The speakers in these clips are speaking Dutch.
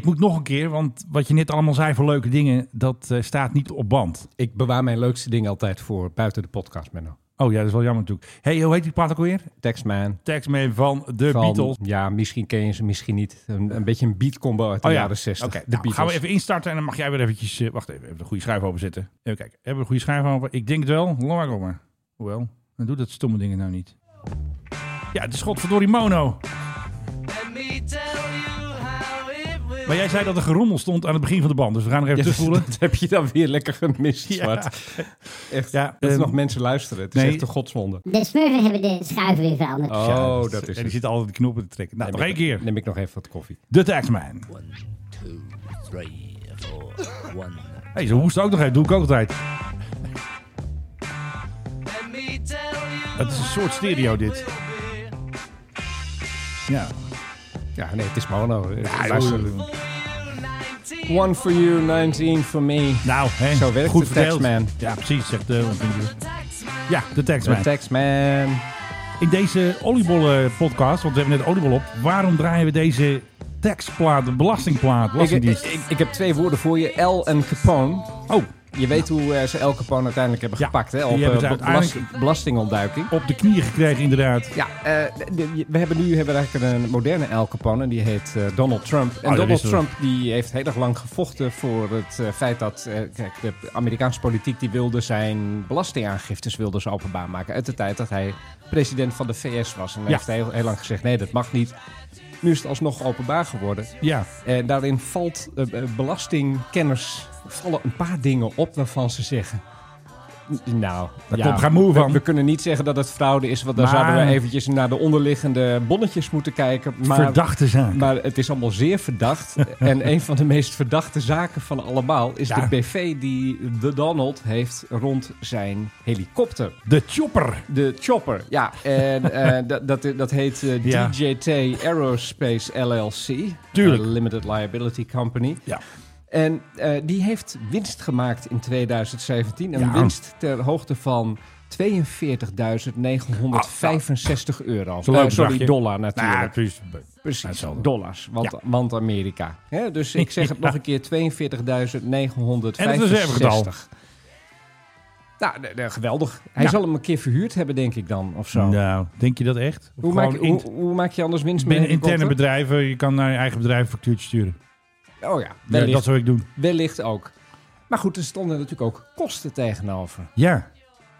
Ik moet nog een keer, want wat je net allemaal zei voor leuke dingen, dat eh, staat niet op band. Ik bewaar mijn leukste dingen altijd voor buiten de podcast, Menno. Oh ja, dat is wel jammer natuurlijk. hey, hoe heet die plaat ook weer? Taxman. Text mee van de Van- Beatles. Ja, misschien ken je ze, misschien niet. Een, een beetje een beatcombo uit de jaren 60. Oké, de nou, Beatles. gaan we even instarten en dan mag jij weer eventjes... eh, wacht even, even de goede schuif openzetten. Even kijken, hebben we een goede schuif open? Ik denk het wel. Laat maar maar. Hoewel, dan doet dat stomme dingen nou niet. Ja, het is godverdorie mono. Let me tell you how it will. Maar jij zei dat er gerommel stond aan het begin van de band. Dus we gaan er even Ja, tussen voelen. Dat heb je dan weer lekker gemist, Ja. Zwart. Echt, Ja, dat ehm, nog mensen luisteren. Het is nee. echt een godswonde. De smurfen hebben de schuiven weer veranderd. Oh, Ja, dat is ja, Die het. zit altijd de knoppen te trekken. Nou, nog Neem één ik- keer. Neem ik nog even wat koffie. De Taxman. Two, three, four, one. Hé, hey, ze hoest ook nog even. Doe ik ook altijd. Let me tell you. Het is een soort stereo dit. Ja. Ja, nee, het is mono. Ja, Luister. joh. One for you, 19 for me. Nou, hè. Zo werkt goed de verdeeld. Taxman. Ja, precies, zegt eh, de Ja, de De Taxman. Taxman. In deze oliebollen-podcast, want we hebben net oliebol op, waarom draaien we deze taxplaat, de belastingplaat, Ik, ik, belastingdienst? ik- ik heb twee woorden voor je. L en Capone. Oh, Je weet hoe eh, ze El Capone uiteindelijk hebben Ja, gepakt. Hè? die Op eh, hebben ze be- uiteindelijk- belast- belastingontduiking. op de knieën gekregen inderdaad. Ja, eh, de- de- we hebben nu hebben we eigenlijk een moderne El Capone. en Die heet eh, Donald Trump. En Oh, dat Donald wisten we. Trump die heeft heel erg lang gevochten voor het eh, feit dat... eh, kijk, de Amerikaanse politiek die wilde zijn belastingaangiftes wilde ze openbaar maken. Uit de tijd dat hij president van de VS was. En hij Ja. heeft heel, heel lang gezegd, nee, dat mag niet. Nu is het alsnog openbaar geworden. Ja, En daarin valt eh, eh, belastingkenners vallen een paar dingen op waarvan ze zeggen. "N- Nou, Daar komt geen moe we- van." We, kunnen niet zeggen dat het fraude is, want dan Maar- zouden we eventjes naar de onderliggende bonnetjes moeten kijken. Maar, verdachte zaak. maar het is allemaal zeer verdacht. en een van de meest verdachte zaken van allemaal is Ja. de BV die de Donald heeft rond zijn helikopter. De chopper. De Chopper, ja. En eh, dat, dat, dat heet eh, Ja. DJT Aerospace LLC. Tuurlijk. Eh, Limited Liability Company. Ja. En eh, die heeft winst gemaakt in 2017. Een Ja. winst ter hoogte van 42.965 euro. een Ah, leuk Eh, sorry, bedragje. dollar natuurlijk. Nou, precies. Precies, hetzelfde. dollars. Want, want Amerika. Hè, dus ik zeg het Ja. nog een keer, 42.965. En het reservegetal. Nou, d- d- geweldig. Hij Ja. zal hem een keer verhuurd hebben, denk ik dan, of zo. Nou, denk je dat echt? Of Hoe gewoon maak, in- hoe, hoe maak je anders winst met binnen een interne helikopter? bedrijven, je kan naar je eigen bedrijf een factuurtje sturen. Oh ja, Ja, wellicht, dat zou ik doen. wellicht ook. Maar goed, er stonden natuurlijk ook kosten tegenover. Ja,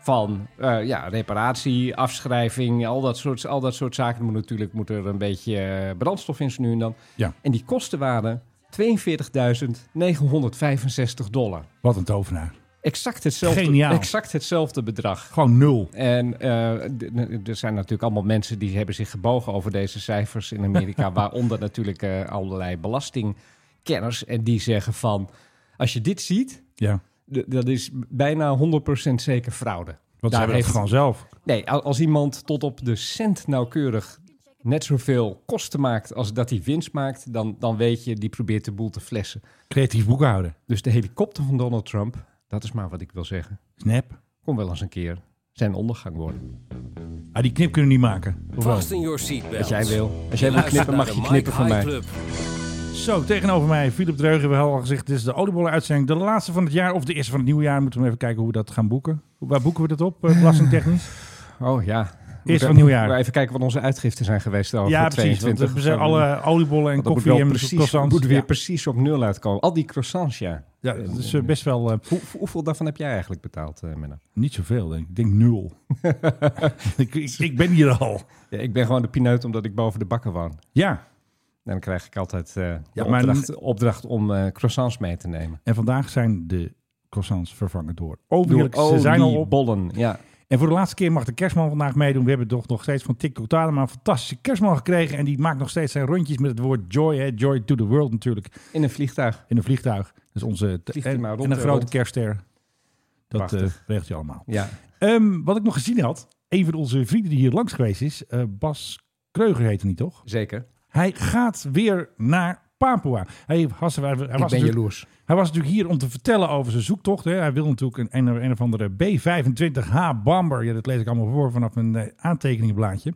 Van eh, ja, reparatie, afschrijving, al dat soort, al dat soort zaken. Er Moet natuurlijk moet er een beetje eh, brandstof in zo nu en dan. Ja. En die kosten waren 42.965 dollar. wat een tovenaar. Exact hetzelfde, Geniaal. exact hetzelfde bedrag. Gewoon nul. En eh, d- d- er zijn natuurlijk allemaal mensen die hebben zich gebogen over deze cijfers in Amerika. waaronder natuurlijk eh, allerlei belastingkenners. En die zeggen van, als je dit ziet, Ja, d- dat is bijna 100% zeker fraude. want ze hebben dat gewoon zelf. Nee, a- als iemand tot op de cent nauwkeurig net zoveel kosten maakt als dat hij winst maakt, dan, dan weet je, die probeert de boel te flessen. Creatief boekhouden. Dus de helikopter van Donald Trump, dat is maar wat ik wil zeggen, Snap. kon wel eens een keer zijn ondergang worden. Ah, die knip kunnen we niet maken. Of wel? Fasten your seatbelt. Als jij wil, als jij wil knippen, mag je knippen van mij. Zo, tegenover mij Philip Dreugen. We hebben al gezegd, dit is de oliebollen-uitzending. De laatste van het jaar of de eerste van het nieuwe jaar. Moeten we even kijken hoe we dat gaan boeken. Waar boeken we dat op, eh, belastingtechnisch? Oh ja. Eerst We- van nieuwjaar. we Even kijken wat onze uitgiften zijn geweest over ja, precies. Want 22. we zijn alle oliebollen en dat moet koffie wel en precies, croissants. moet weer Ja, precies op nul uitkomen. Al die croissants, ja. ja, dat is eh, best wel eh, Hoe, hoeveel daarvan heb jij eigenlijk betaald, eh Menno? niet zoveel, denk ik. Ik denk nul. ik, ik, ik ben hier al. Ja, ik ben gewoon de pineut omdat ik boven de bakken woon. Ja, En dan krijg ik altijd eh de Ja, maar- opdracht, opdracht om eh, croissants mee te nemen. en vandaag zijn de croissants vervangen door Door oliebollen. Ze zijn al op. oliebollen, oh, ja. En voor de laatste keer mag de kerstman vandaag meedoen. We hebben toch nog steeds van TikTok Talema een fantastische kerstman gekregen. En die maakt nog steeds zijn rondjes met het woord joy. Hè? Joy to the world natuurlijk. In een vliegtuig. In een vliegtuig. Dat is onze... Vliegt hij en, maar rond en een en grote rond. kerstster. Dat eh Prachtig. regelt hij allemaal. Ja. Ehm, wat ik nog gezien had. Een van onze vrienden die hier langs geweest is. eh, Bas Kreuger heet hij niet, toch? Zeker. Hij gaat weer naar... Papua. Hij, was- hij, was ik ben natuurlijk- jaloers. hij was natuurlijk hier om te vertellen over zijn zoektocht. Hè. Hij wil natuurlijk een, een, een of andere B25H Bomber. Ja, dat lees ik allemaal voor vanaf mijn eh, aantekeningenblaadje.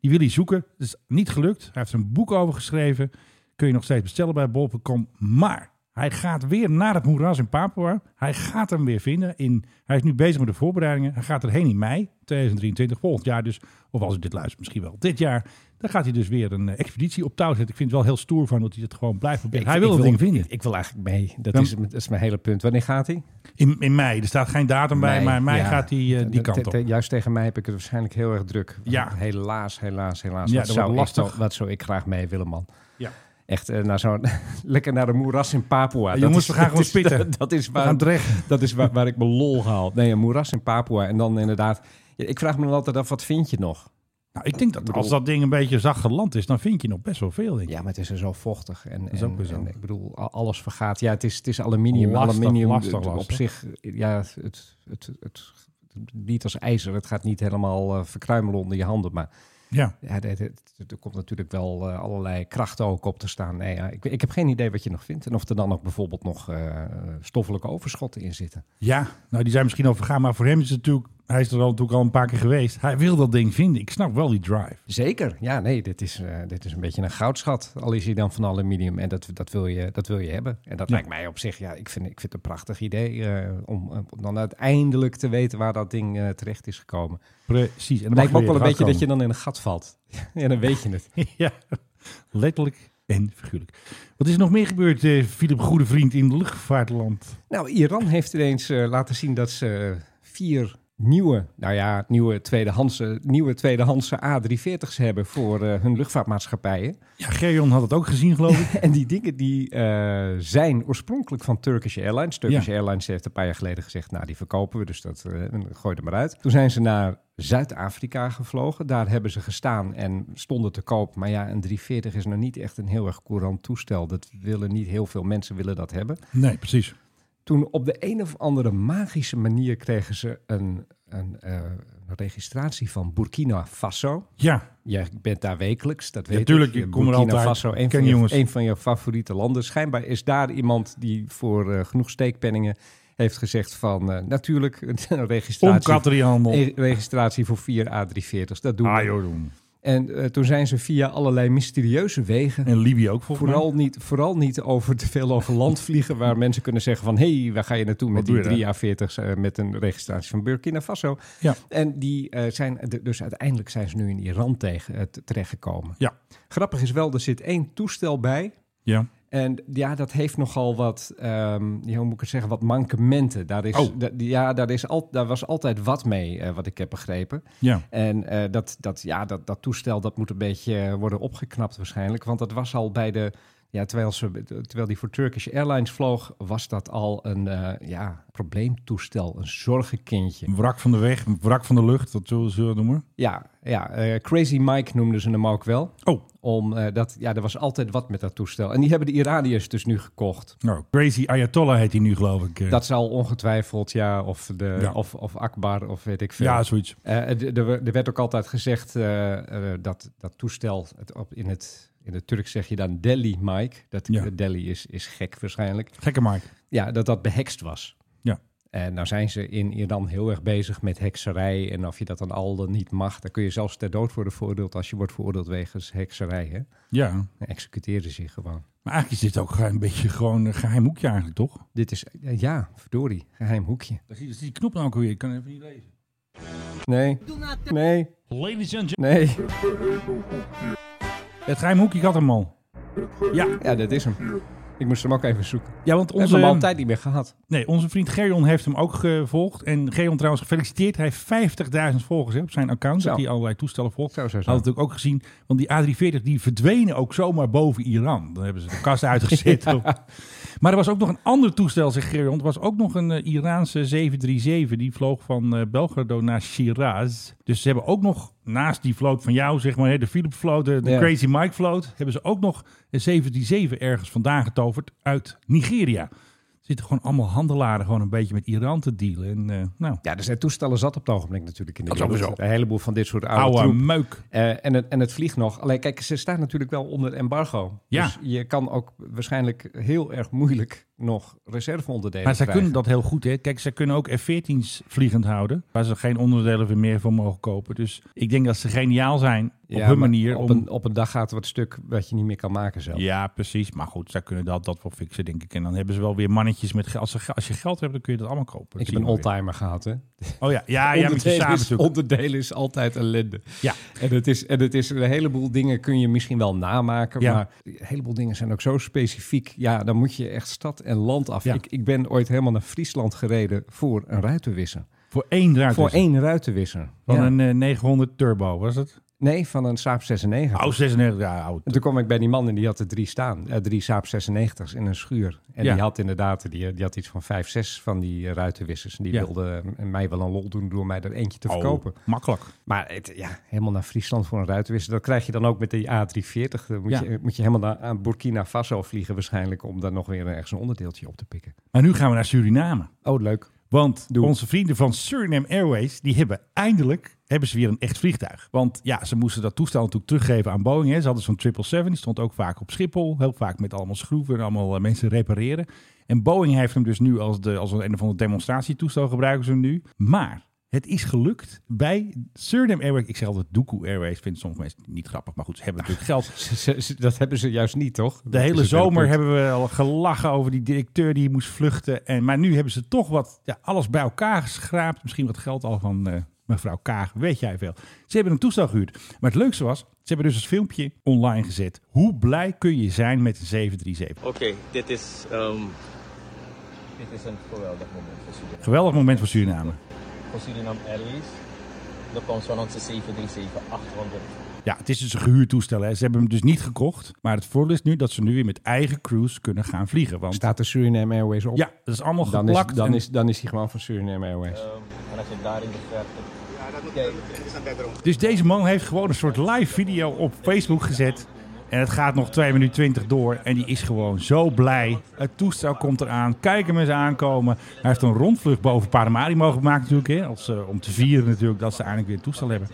Die wil hij zoeken. Dat is niet gelukt. Hij heeft er een boek over geschreven. kun je nog steeds bestellen bij bol.com. Maar hij gaat weer naar het moeras in Papua. Hij gaat hem weer vinden. In, hij is nu bezig met de voorbereidingen. Hij gaat erheen in mei 2023, volgend jaar dus. Of als ik dit luister, misschien wel dit jaar. Dan gaat hij dus weer een eh, expeditie op touw zetten. Ik vind het wel heel stoer van dat hij het gewoon blijft proberen. hij wil ik dat ding vinden. Ik, ik wil eigenlijk mee. Dat, Dan- is, dat is mijn hele punt. Wanneer gaat hij? In, in mei, er staat geen datum bij, Mei, maar in mei ja. gaat hij eh, die Te- kant te- op. te- Juist tegen mij heb ik het waarschijnlijk heel erg druk. Ja. Helaas, helaas, helaas. Ja, wat, dat zou wordt ik wel- lastig. wat zou ik graag mee willen, man. Ja. Echt eh, naar zo'n, lekker naar de moeras in Papua. Dat jongens, is- we gaan dat gewoon is- spitten. Dat, dat is We gaan waar, terecht. dat is waar, waar ik mijn lol haal. Nee, een moeras in Papua. En dan inderdaad... ja, ik vraag me dan altijd af, wat vind je nog? Nou, ik denk dat als bedoel- dat ding een beetje zacht geland is, dan vind je nog best wel veel. Denk ik. Ja, maar het is er zo vochtig. En, is en, ook weer zo. en ik bedoel, a- alles vergaat. Ja, het is, het is aluminium. Lastig, aluminium lastig, het- lastig. op zich, ja, het, het, het, het, niet als ijzer. Het gaat niet helemaal eh, verkruimelen onder je handen. Maar Ja. ja, dit- dit- dit- er komt natuurlijk wel eh, allerlei krachten ook op te staan. Nee, ja, ik, ik heb geen idee wat je nog vindt. En of er dan ook bijvoorbeeld nog eh, stoffelijke overschotten in zitten. ja, nou die zijn misschien al vergaan, maar voor hem is het natuurlijk, hij is er al, natuurlijk al een paar keer geweest. Hij wil dat ding vinden. Ik snap wel die drive. Zeker, ja, nee, dit is, eh, dit is een beetje een goudschat. Al is hij dan van aluminium en dat, dat, wil, je, dat wil je hebben. En dat Ja. lijkt mij op zich, ja, ik vind, ik vind het een prachtig idee eh, om, eh, om dan uiteindelijk te weten waar dat ding eh, terecht is gekomen. Precies. En dan Het lijkt me mag ook wel een beetje je dat je dan in een gat valt. ja, dan weet je het. weer gaan komen. ja, letterlijk en figuurlijk. Wat is er nog meer gebeurd, eh, Philip, goede vriend in luchtvaartland? Nou, Iran heeft ineens eh, laten zien dat ze vier nieuwe, nou ja, nieuwe tweedehandse, nieuwe tweedehandse A340's hebben voor eh, hun luchtvaartmaatschappijen. Ja, Gerjon had het ook gezien, geloof ik. En die dingen die eh, zijn oorspronkelijk van Turkish Airlines. Turkish Ja. Airlines heeft een paar jaar geleden gezegd, nou die verkopen we, dus dat eh, gooi er maar uit. Toen zijn ze naar Zuid-Afrika gevlogen. Daar hebben ze gestaan en stonden te koop. Maar ja, een 340 is nou niet echt een heel erg courant toestel. Dat willen niet heel veel mensen willen dat hebben. Nee, precies. Toen op de een of andere magische manier kregen ze een, een eh, een registratie van Burkina Faso. Ja, Ja, ik ben daar wekelijks, dat weet ik. tuurlijk, ik kom er Burkina altijd. Faso, een Ken van, die je, jongens. een van je favoriete landen. Schijnbaar is daar iemand die voor eh, genoeg steekpenningen heeft gezegd van... eh, natuurlijk, een registratie, omkateriehandel. een registratie voor 4 A340's, dat doen we. Ah, joh, doen. En eh, toen zijn ze via allerlei mysterieuze wegen... En Libië ook, volgens mij. Vooral niet, vooral niet over te veel over land vliegen, waar mensen kunnen zeggen van hé, hey, waar ga je naartoe met doe die je 3 A40's eh, met een registratie van Burkina Faso. Ja. En die eh, zijn, d- dus uiteindelijk zijn ze nu in Iran tegen, eh, t- terechtgekomen. Ja. Grappig is wel, er zit één toestel bij. Ja. En ja, dat heeft nogal wat, ehm, ja, hoe moet ik het zeggen, wat mankementen. Daar, is, Oh. da- ja, daar, is al, daar was altijd wat mee, eh, wat ik heb begrepen. ja. En eh, dat, dat, ja, dat, dat toestel dat moet een beetje eh, worden opgeknapt waarschijnlijk. Want dat was al bij de. Ja, terwijl, ze, terwijl die voor Turkish Airlines vloog, was dat al een eh, ja, probleemtoestel, een zorgenkindje. Een Wrak van de weg, een wrak van de lucht, dat zullen ze dat noemen. Ja, ja eh, Crazy Mike noemden ze hem ook wel. Oh. Om, eh, dat, ja, er was altijd wat met dat toestel. En die hebben de Iraniërs dus nu gekocht. Nou, Crazy Ayatollah heet hij nu, geloof ik. eh. Dat zal ongetwijfeld, ja, of, de, Ja. Of, of Akbar of weet ik veel. ja, zoiets. Eh, d- er we- er werd ook altijd gezegd eh, eh, dat dat toestel, het, op, in, het, in het Turks zeg je dan Delhi, Mike. Dat Ja. eh, Delhi is, is gek waarschijnlijk. Gekke Mike. Ja, dat dat behekst was. Ja. En nou zijn ze in Iran heel erg bezig met hekserij. En of je dat dan al dan niet mag, dan kun je zelfs ter dood worden veroordeeld als je wordt veroordeeld wegens hekserij. Hè? Ja. Maar Dan executeren ze je gewoon. eigenlijk is dit ook een beetje gewoon een geheim hoekje eigenlijk, toch? Dit is, eh, ja, verdorie, geheim hoekje. Daar zie je die knop nou ook weer. Ik kan even niet lezen. Nee, nee, Ladies and nee. Het geheim hoekje, ik had hem al. Ja, Ja, dat is hem. Ik moest hem ook even zoeken. ja want We hebben onze, hem al tijd niet meer gehad. nee, onze vriend Gerjon heeft hem ook gevolgd. En Gerjon trouwens, gefeliciteerd. Hij heeft 50.000 volgers hè, op zijn account. Zo. Dat hij allerlei toestellen volgt. Zo, zo, zo. Had het natuurlijk ook gezien. Want die A340 die verdwenen ook zomaar boven Iran. Dan hebben ze de kast uitgezet. Maar er was ook nog een ander toestel, zegt Gerjon. Er was ook nog een eh, Iraanse 737. Die vloog van eh, Belgrado naar Shiraz. Dus ze hebben ook nog naast die vloot van jou, zeg maar, hè, de Philip vloot, de, de Ja. Crazy Mike vloot. Hebben ze ook nog een 737 ergens vandaan getoverd uit Nigeria. Er Zitten gewoon allemaal handelaren gewoon een beetje met Iran te dealen. En eh, nou, Ja, er zijn toestellen zat op het ogenblik natuurlijk in de Dat wereld. sowieso. Een heleboel van dit soort oude, oude troep. meuk. Eh, en, het, en het vliegt nog. Alleen kijk, ze staan natuurlijk wel onder embargo. Ja. Dus je kan ook waarschijnlijk heel erg moeilijk nog reserveonderdelen Maar zij krijgen. kunnen dat heel goed, hè. Kijk, zij kunnen ook F-14's vliegend houden, waar ze geen onderdelen voor meer voor mogen kopen. Dus ik denk dat ze geniaal zijn op Ja, hun maar manier. Op, om... een, op een dag gaat er wat stuk wat je niet meer kan maken zelf. Ja, precies. Maar goed, zij kunnen dat, dat wel fixen, denk ik. En dan hebben ze wel weer mannetjes met geld. Als, ze ge- als je geld hebt, dan kun je dat allemaal kopen. Ik Dat heb zie een je wel oldtimer gehad, hè? weer. Oh ja, ja, ja met je onderdelen, is, sabelzoek. onderdelen is altijd ellende. Ja. En het, is, en het is een heleboel dingen kun je misschien wel namaken. Ja. Maar een heleboel dingen zijn ook zo specifiek. Ja, dan moet je echt stad en land af. Ja. Ik, ik ben ooit helemaal naar Friesland gereden voor een ruitenwisser. Voor één ruimte. Voor één ruitenwisser. Van Ja. een eh, 900 turbo, was het? Nee, van een Saab 96. Oh, 96 jaar oud. En toen kwam ik bij die man en die had er drie staan. eh, drie Saab 96's in een schuur. En Ja. die had inderdaad die, die had iets van vijf, zes van die eh, ruitenwissers. En die Ja. wilde eh, mij wel een lol doen door mij er eentje te Oh, verkopen. Makkelijk. Maar het, ja, helemaal naar Friesland voor een ruitenwisser. Dat krijg je dan ook met die A340. Dan moet, Ja. je, moet je helemaal naar aan Burkina Faso vliegen waarschijnlijk... om daar nog weer ergens een onderdeeltje op te pikken. Maar nu gaan we naar Suriname. Oh, leuk. Want Doe. onze vrienden van Suriname Airways, die hebben eindelijk hebben ze weer een echt vliegtuig. Want ja, ze moesten dat toestel natuurlijk teruggeven aan Boeing. Hè. Ze hadden zo'n 777, die stond ook vaak op Schiphol. Heel vaak met allemaal schroeven en allemaal eh, mensen repareren. En Boeing heeft hem dus nu als, de, als een, een of ander demonstratietoestel gebruiken ze hem nu. Maar het is gelukt bij Suriname Airways. Ik zeg altijd Doekoe Airways, vinden sommige mensen niet grappig. Maar goed, ze hebben natuurlijk geld. Ze- ze- ze- dat hebben ze juist niet, toch? De hele zomer hebben we al gelachen over die directeur die moest vluchten. En, maar nu hebben ze toch wat, ja, alles bij elkaar geschraapt. Misschien wat geld al van eh, mevrouw Kaag, weet jij veel. Ze hebben een toestel gehuurd. Maar het leukste was, ze hebben dus een filmpje online gezet. Hoe blij kun je zijn met een 737? Oké, dit is. ehm dit is een geweldig moment voor Suriname. Geweldig moment voor Suriname. Voor Suriname Airways. De komst van onze 737-800. Ja, het is dus een gehuurd toestel. Hè. Ze hebben hem dus niet gekocht. Maar het voordeel is nu dat ze nu weer met eigen crews kunnen gaan vliegen. Want Staat de Suriname Airways op? ja, dat is allemaal Dan is, geplakt. dan, en- is, dan is hij gewoon van Suriname Airways. Oh, En als je daar in de verte. Dus deze man heeft gewoon een soort live video op Facebook gezet. En het gaat nog 2 minuten 20 door. En die is gewoon zo blij. Het toestel komt eraan. Kijk hem eens aankomen. Hij heeft een rondvlucht boven Paramaribo gemaakt natuurlijk. Hè? Als, eh, om te vieren natuurlijk dat ze eindelijk weer een toestel hebben.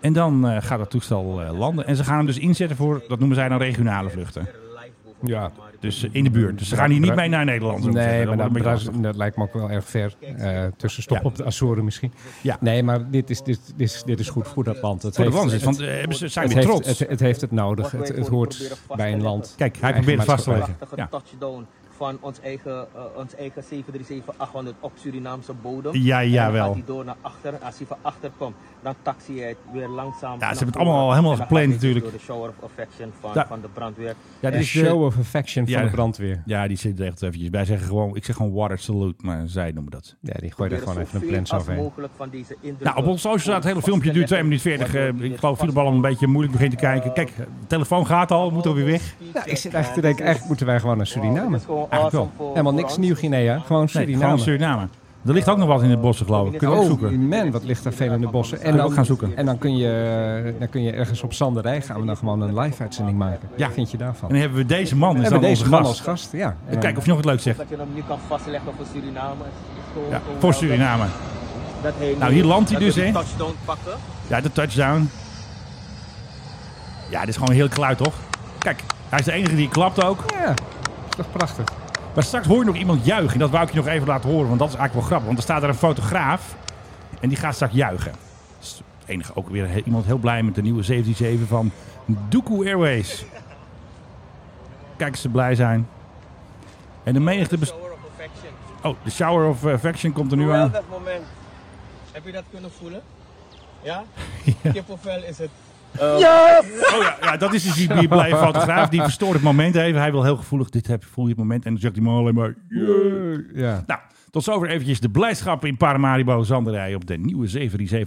En dan eh, gaat dat toestel eh, landen. En ze gaan hem dus inzetten voor, dat noemen zij dan regionale vluchten. Ja. Dus eh, in de buurt. Dus ze gaan hier niet mee naar Nederland. zullen we Nee, zeggen. maar Dat dat, wordt een beetje dat- dat lijkt me ook wel erg ver. Eh tussenstop Ja. op de Azoren misschien. Ja. Nee, maar dit is, dit, dit is, dit is goed voor dat land. Het Voor de heeft- wanders, het- want eh, hebben ze, zijn het weer heeft, trots. het, het heeft het nodig. Het, het hoort bij een land. Kijk, hij probeert het vast te leggen. Prachtige Ja. touchdown van ons eigen, eh, ons eigen 737-800 op Surinaamse bodem. Ja, En dan jawel. gaat hij door naar achter. Als hij van achter komt, dan taxi hij het weer langzaam. Ja, ze naar hebben het voren. allemaal al helemaal En dan gepland gaat hij natuurlijk. Door de shower of affection van, Ja. van de brandweer. Ja, dit de is de- show of affection Ja. van de brandweer. Ja, die zit er echt eventjes. Wij zeggen gewoon, ik zeg gewoon water salute, maar zij noemen dat. Ja, die gooit er gewoon even een Zoveel plans als overheen. mogelijk van deze indruk. Nou, op ons social staat het hele filmpje, duurt 2 minuten 40. Eh, ik geloof dat al een beetje moeilijk begint te kijken. Kijk, de telefoon gaat al, moet alweer weg. Ja, ik zit eigenlijk te denken, eigenlijk moeten wij gewoon naar Suriname. wel. Helemaal niks Nieuw-Guinea, gewoon Nee, gewoon Suriname. Oh, Suriname. Er ligt ook nog wat in de bossen, geloof ik. Kunnen we ook zoeken. man, wat ligt daar veel in de bossen. En Gaan we ook gaan zoeken. En dan kun, je, dan kun je ergens op Sanderij gaan we dan gewoon een live-uitzending maken. Ja. Wat vind je daarvan? En dan hebben we deze man, is hebben dan deze deze man gast. als gast, ja. En dan- Kijk of je nog het leuk zegt. Dat je hem nu kan vastleggen voor Suriname. is gewoon Ja, geweldig. voor Suriname. Dat hij Nou, nu- hier landt hij dat dus, we die hè? touchdown pakken. Ja, de touchdown. Ja, dit is gewoon heel geluid, toch? Kijk, hij is de enige die klapt ook. Ja, is toch prachtig. Maar straks hoor je nog iemand juichen. En dat wou ik je nog even laten horen, want dat is eigenlijk wel grappig. Want er staat daar een fotograaf en die gaat straks juichen. Dat is het enige, ook weer he- iemand heel blij met de nieuwe 777 van Doekoe Airways. Kijk eens, ze blij zijn. En de menigte... bes- Shower of affection. Oh, de shower of eh, affection komt er nu aan. Geweldig moment. Heb je dat kunnen voelen? Ja? Kippenvel is het. Oh ja, ja dat is dus die, die blije fotograaf. Die verstoort het moment even. Hij wil heel gevoelig, dit heb, voel je het moment. En dan zegt die man alleen maar... "Yeah." Ja. Nou, tot zover eventjes de blijdschap in Paramaribo Zanderij... op de nieuwe 737-800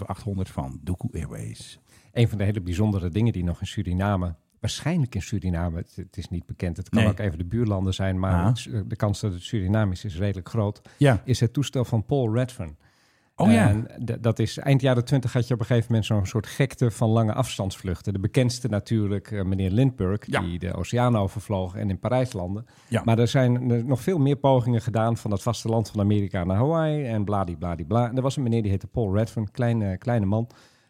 van Doekoe Airways. Een van de hele bijzondere dingen die nog in Suriname, waarschijnlijk in Suriname, het, het is niet bekend, het kan Nee. ook even de buurlanden zijn, maar Ja. het su- de kans dat het Surinamisch is, is redelijk groot, Ja. is het toestel van Paul Redfern. Oh ja. En d- dat is eind jaren twintig had je op een gegeven moment zo'n soort gekte van lange afstandsvluchten. De bekendste natuurlijk eh, meneer Lindbergh, Ja. die de oceaan overvloog en in Parijs landde. Ja. Maar er zijn eh, nog veel meer pogingen gedaan van dat vasteland van Amerika naar Hawaii en bladibladibla. En er was een meneer die heette Paul Redfern, kleine, kleine man.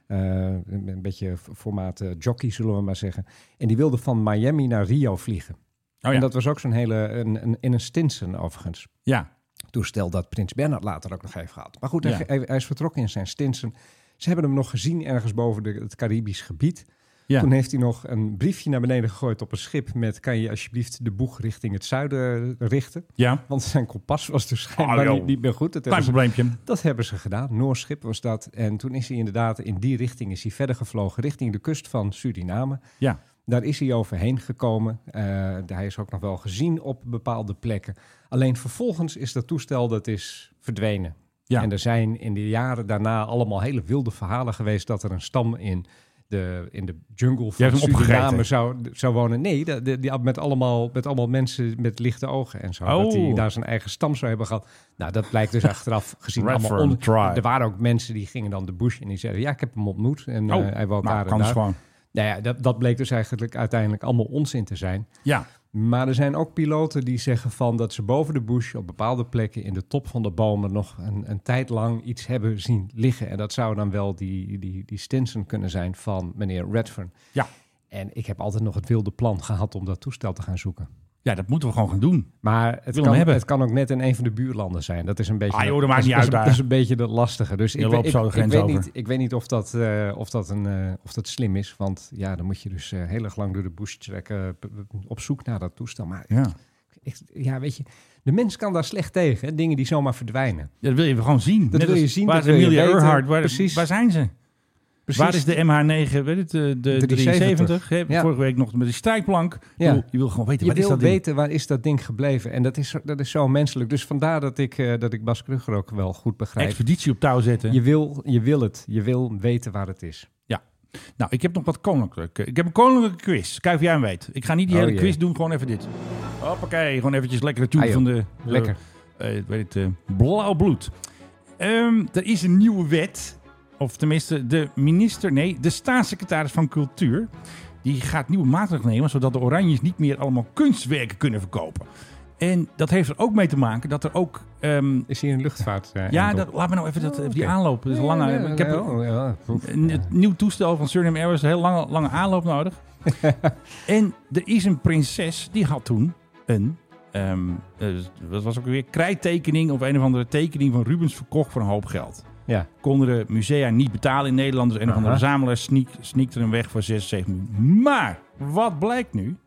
Eh, een een beetje v- formaat eh, jockey, zullen we maar zeggen. En die wilde van Miami naar Rio vliegen. Oh ja. En dat was ook zo'n hele, een, een, in een Stinson overigens. Ja, Toestel dat Prins Bernhard later ook nog heeft gehad. Maar goed, hij, Ja. hij, hij is vertrokken in zijn Stinson. Ze hebben hem nog gezien ergens boven de, het Caribisch gebied. ja. Toen heeft hij nog een briefje naar beneden gegooid op een schip met... kan je alsjeblieft de boeg richting het zuiden eh, richten? ja. Want zijn kompas was dus schijnbaar Oh, joh. niet, niet meer goed. Dat Klein hebben ze- probleempje. dat hebben ze gedaan. Noorschip was dat. En toen is hij inderdaad in die richting is hij verder gevlogen, richting de kust van Suriname. Ja. Daar is hij overheen gekomen. Eh, hij is ook nog wel gezien op bepaalde plekken. Alleen vervolgens is dat toestel dat is verdwenen. Ja. En er zijn in de jaren daarna allemaal hele wilde verhalen geweest dat er een stam in de, in de jungle Jij van hebt hem Suriname opgegeten. zou, zou wonen. Nee, de, de- die, met, allemaal, met allemaal mensen met lichte ogen en zo. Dat hij Oh. daar zijn eigen stam zou hebben gehad. Nou, dat blijkt dus achteraf gezien Red allemaal Fern on- Tribe. Er waren ook mensen die gingen dan de bush en die zeiden... ja, ik heb hem ontmoet en eh, Oh, hij woont nou, daar en kan dus daar. gewoon. Nou ja, dat, dat bleek dus eigenlijk uiteindelijk allemaal onzin te zijn. Ja, Maar er zijn ook piloten die zeggen van dat ze boven de bush op bepaalde plekken in de top van de bomen nog een, een tijd lang iets hebben zien liggen. En dat zou dan wel die, die, die Stinson kunnen zijn van meneer Redfern. Ja. En ik heb altijd nog het wilde plan gehad om dat toestel te gaan zoeken. ja, dat moeten we gewoon gaan doen. Maar het hem kan, hebben. het kan ook net in een van de buurlanden zijn. Dat is een beetje. Ah, joh, dat maakt is- niet is uit een- daar. Dat is een beetje dat lastige. Dus Je ik, loopt weet- zo de ik, ik grens weet over. niet, ik weet niet of dat, eh, of, dat een, eh, of dat slim is. Want ja, dan moet je dus eh, heel erg lang door de bush trekken. p- p- op zoek naar dat toestel. Maar Ja. ik- ja, weet je, de mens kan daar slecht tegen. hè. Dingen die zomaar verdwijnen. Ja, dat wil je gewoon zien. Net wil als- je zien, Waar dat is wil je Amelia weten. Earhart? Waar, Precies. waar zijn ze? Precies. Waar is de MH9, weet het, eh, de, 370? 370, hè? ja. Vorige week nog met die strijkplank. Ik Ja. bedoel, Je wil gewoon weten, Je wat is wil dat ding? weten waar is dat ding gebleven. En dat is, zo- dat is zo menselijk. Dus vandaar dat ik, eh, dat ik Bas Kruger ook wel goed begrijp. Expeditie op touw zetten. Je wil, je wil het. Je wil weten waar het is. Nou, ik heb nog wat koninklijke. Ik heb een koninklijke quiz. Kijk of jij hem weet. Ik ga niet die Oh, hele jee. quiz doen, gewoon even dit. Hoppakee, gewoon eventjes lekkere tune Ah, joh. van de... Lekker. eh, eh, weet het, eh, blauw bloed. Ehm, er is een nieuwe wet. Of tenminste, de minister... Nee, de staatssecretaris van Cultuur... Die gaat nieuwe maatregelen nemen... zodat de Oranjes niet meer allemaal kunstwerken kunnen verkopen. En dat heeft er ook mee te maken dat er ook... ehm, Is hier een luchtvaart? eh, ja, en dat, laat me nou even dat, even die oké. aanloop. Dat is een lange, ik heb ja, oh, ja. een, het nieuw toestel van Suriname Airways een heel lange, lange aanloop nodig. en er is een prinses die had toen een. ehm, eh, wat was ook weer? Krijttekening of een of andere tekening van Rubens verkocht voor een hoop geld. Ja. Konden de musea niet betalen in Nederland. Dus een of andere Aha. verzamelaar sneak, sneakte hem weg voor 76 miljoen. Maar wat blijkt nu?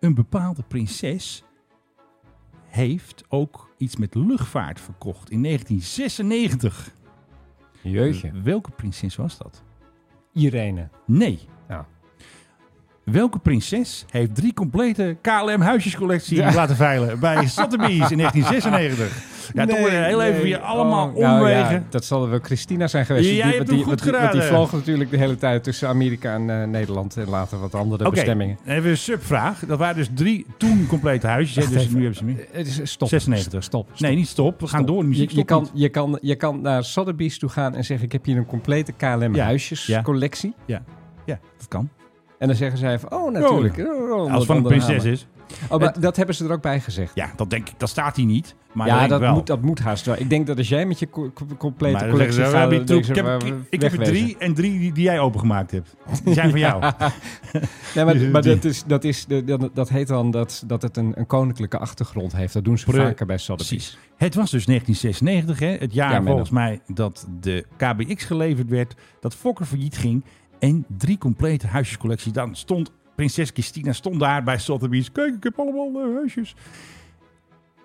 Een bepaalde prinses heeft ook iets met luchtvaart verkocht in 1996. Jeetje. Welke prinses was dat? Irene. Nee. Ja. Welke prinses heeft drie complete KLM huisjescollectie laten veilen bij Sotheby's in 1996? Ja, toch weer heel even weer allemaal Oh, nou ja, omwegen. dat zal wel Christina zijn geweest. Jij Die- hebt want hem die, goed want die- want geraden. die vloog natuurlijk de hele tijd tussen Amerika en eh, Nederland en later wat andere Oké, bestemmingen. dan hebben we een subvraag. Dat waren dus drie toen complete huisjes. hè, Wacht Dus even. nu hebben ze meer. Het is- Stop. 96. Stop. stop. Nee, niet stop. We gaan door. De muziek Je, je, stopt kan, niet. je, kan, je kan naar Sotheby's toe gaan en zeggen: Ik heb hier een complete KLM Ja. Ja. huisjescollectie. Ja, dat kan. En dan zeggen zij: van, Oh, natuurlijk. Oh, oh, Als het van een onder- prinses is. Oh, maar dat hebben ze er ook bij gezegd. Ja, dat denk ik. Dat staat hier niet. Maar ja, denk ik dat wel. moet, dat moet haast wel. Ik denk dat als jij met je co- co- complete Maar dan zeggen ze, collectie gaat... "Oh, heb je dan troep? denken Ik ze, heb- "Maar Ik heb er wegwezen." drie en drie die, die jij opengemaakt hebt. Die zijn van jou. Nee, maar Dus maar die- dat, is, dat, is, dat, dat heet dan dat, dat het een, een koninklijke achtergrond heeft. Dat doen ze Pre- vaker bij Sotheby's. Precies. Het was dus 1996, hè? het jaar Ja, Menno. volgens mij dat de KBX geleverd werd, dat Fokker failliet ging en drie complete huisjescollecties. Dan stond prinses Christina stond daar bij Sotheby's. Kijk, ik heb allemaal eh, huisjes.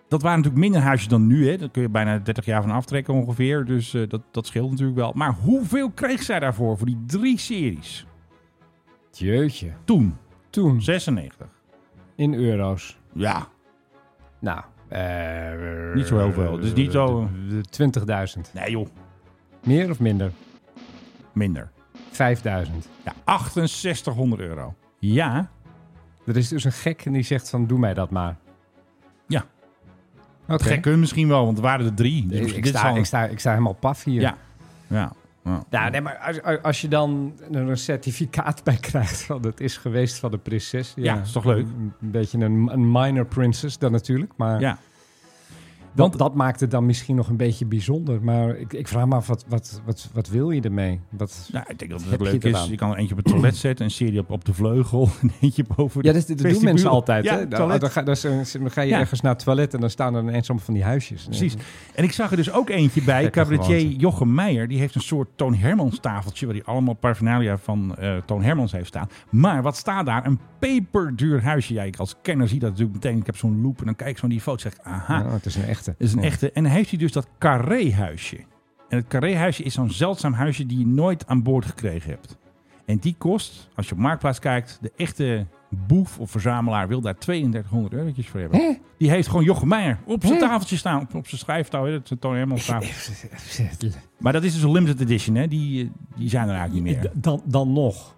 Dat waren natuurlijk minder huisjes dan nu. Hè? Daar kun je bijna 30 jaar van aftrekken ongeveer. Dus eh, dat, dat scheelt natuurlijk wel. Maar hoeveel kreeg zij daarvoor voor die drie series? Jeetje. Toen, Toen 96. in euro's. Ja, Nou, eh, Niet zo heel veel. Dus niet zo- de- de 20.000. nee joh, Meer of minder? minder. 5000. Ja, 6800 euro. Ja, Er is dus een gek en die zegt van doe mij dat maar. Ja. Oké. Gek kunnen misschien wel, want er waren er drie. Dus Ik, misschien- ik, dit is sta, al- ik, sta, ik sta helemaal paf hier. Ja. Ja. ja. Nou, nee, maar als, als- als je dan er een certificaat bij krijgt van het is geweest van de prinses. Ja, is toch leuk? Een, een beetje een, een minor princess dan natuurlijk, maar Ja. Want- Want dat maakt het dan misschien nog een beetje bijzonder. Maar ik, ik vraag me af, wat, wat, wat, wat wil je ermee? Wat... Nou, ik denk dat Heb het je leuk het is. eraan? Je kan er eentje op het toilet zetten, een serie op, op de vleugel, een eentje boven. Ja, de dat, dat doen vestibule. mensen altijd. Ja, hè? toilet. Dan, dan ga, dan is- dan ga je Ja. ergens naar het toilet en dan staan er ineens allemaal van die huisjes. Precies. En ik zag er dus ook eentje bij, Gekke cabaretier gewoonte. Jochem Meijer. Die heeft een soort Toon Hermans tafeltje, waar hij allemaal paraphernalia van eh, Toon Hermans heeft staan. Maar wat staat daar? Een peperduur huisje. Ja, ik als kenner zie dat natuurlijk meteen. Ik heb zo'n loop en dan kijk ik zo naar die foto en zeg ik, aha, Ja, Nou, het is een echte. Oh. dat Ah. is een Ja. echte. En dan heeft hij dus dat carré-huisje. En het carré-huisje is zo'n zeldzaam huisje die je nooit aan boord gekregen hebt. En die kost, als je op Marktplaats kijkt, de echte boef of verzamelaar wil daar 3200 eurotjes voor hebben. Die heeft gewoon Jochem Meijer op zijn tafeltje staan, op, op zijn schrijftouw, hè, dat is een Toon Hermans tafel. Maar dat is dus een limited edition, hè? Die, eh, die zijn er eigenlijk niet meer. D- Dan, dan nog.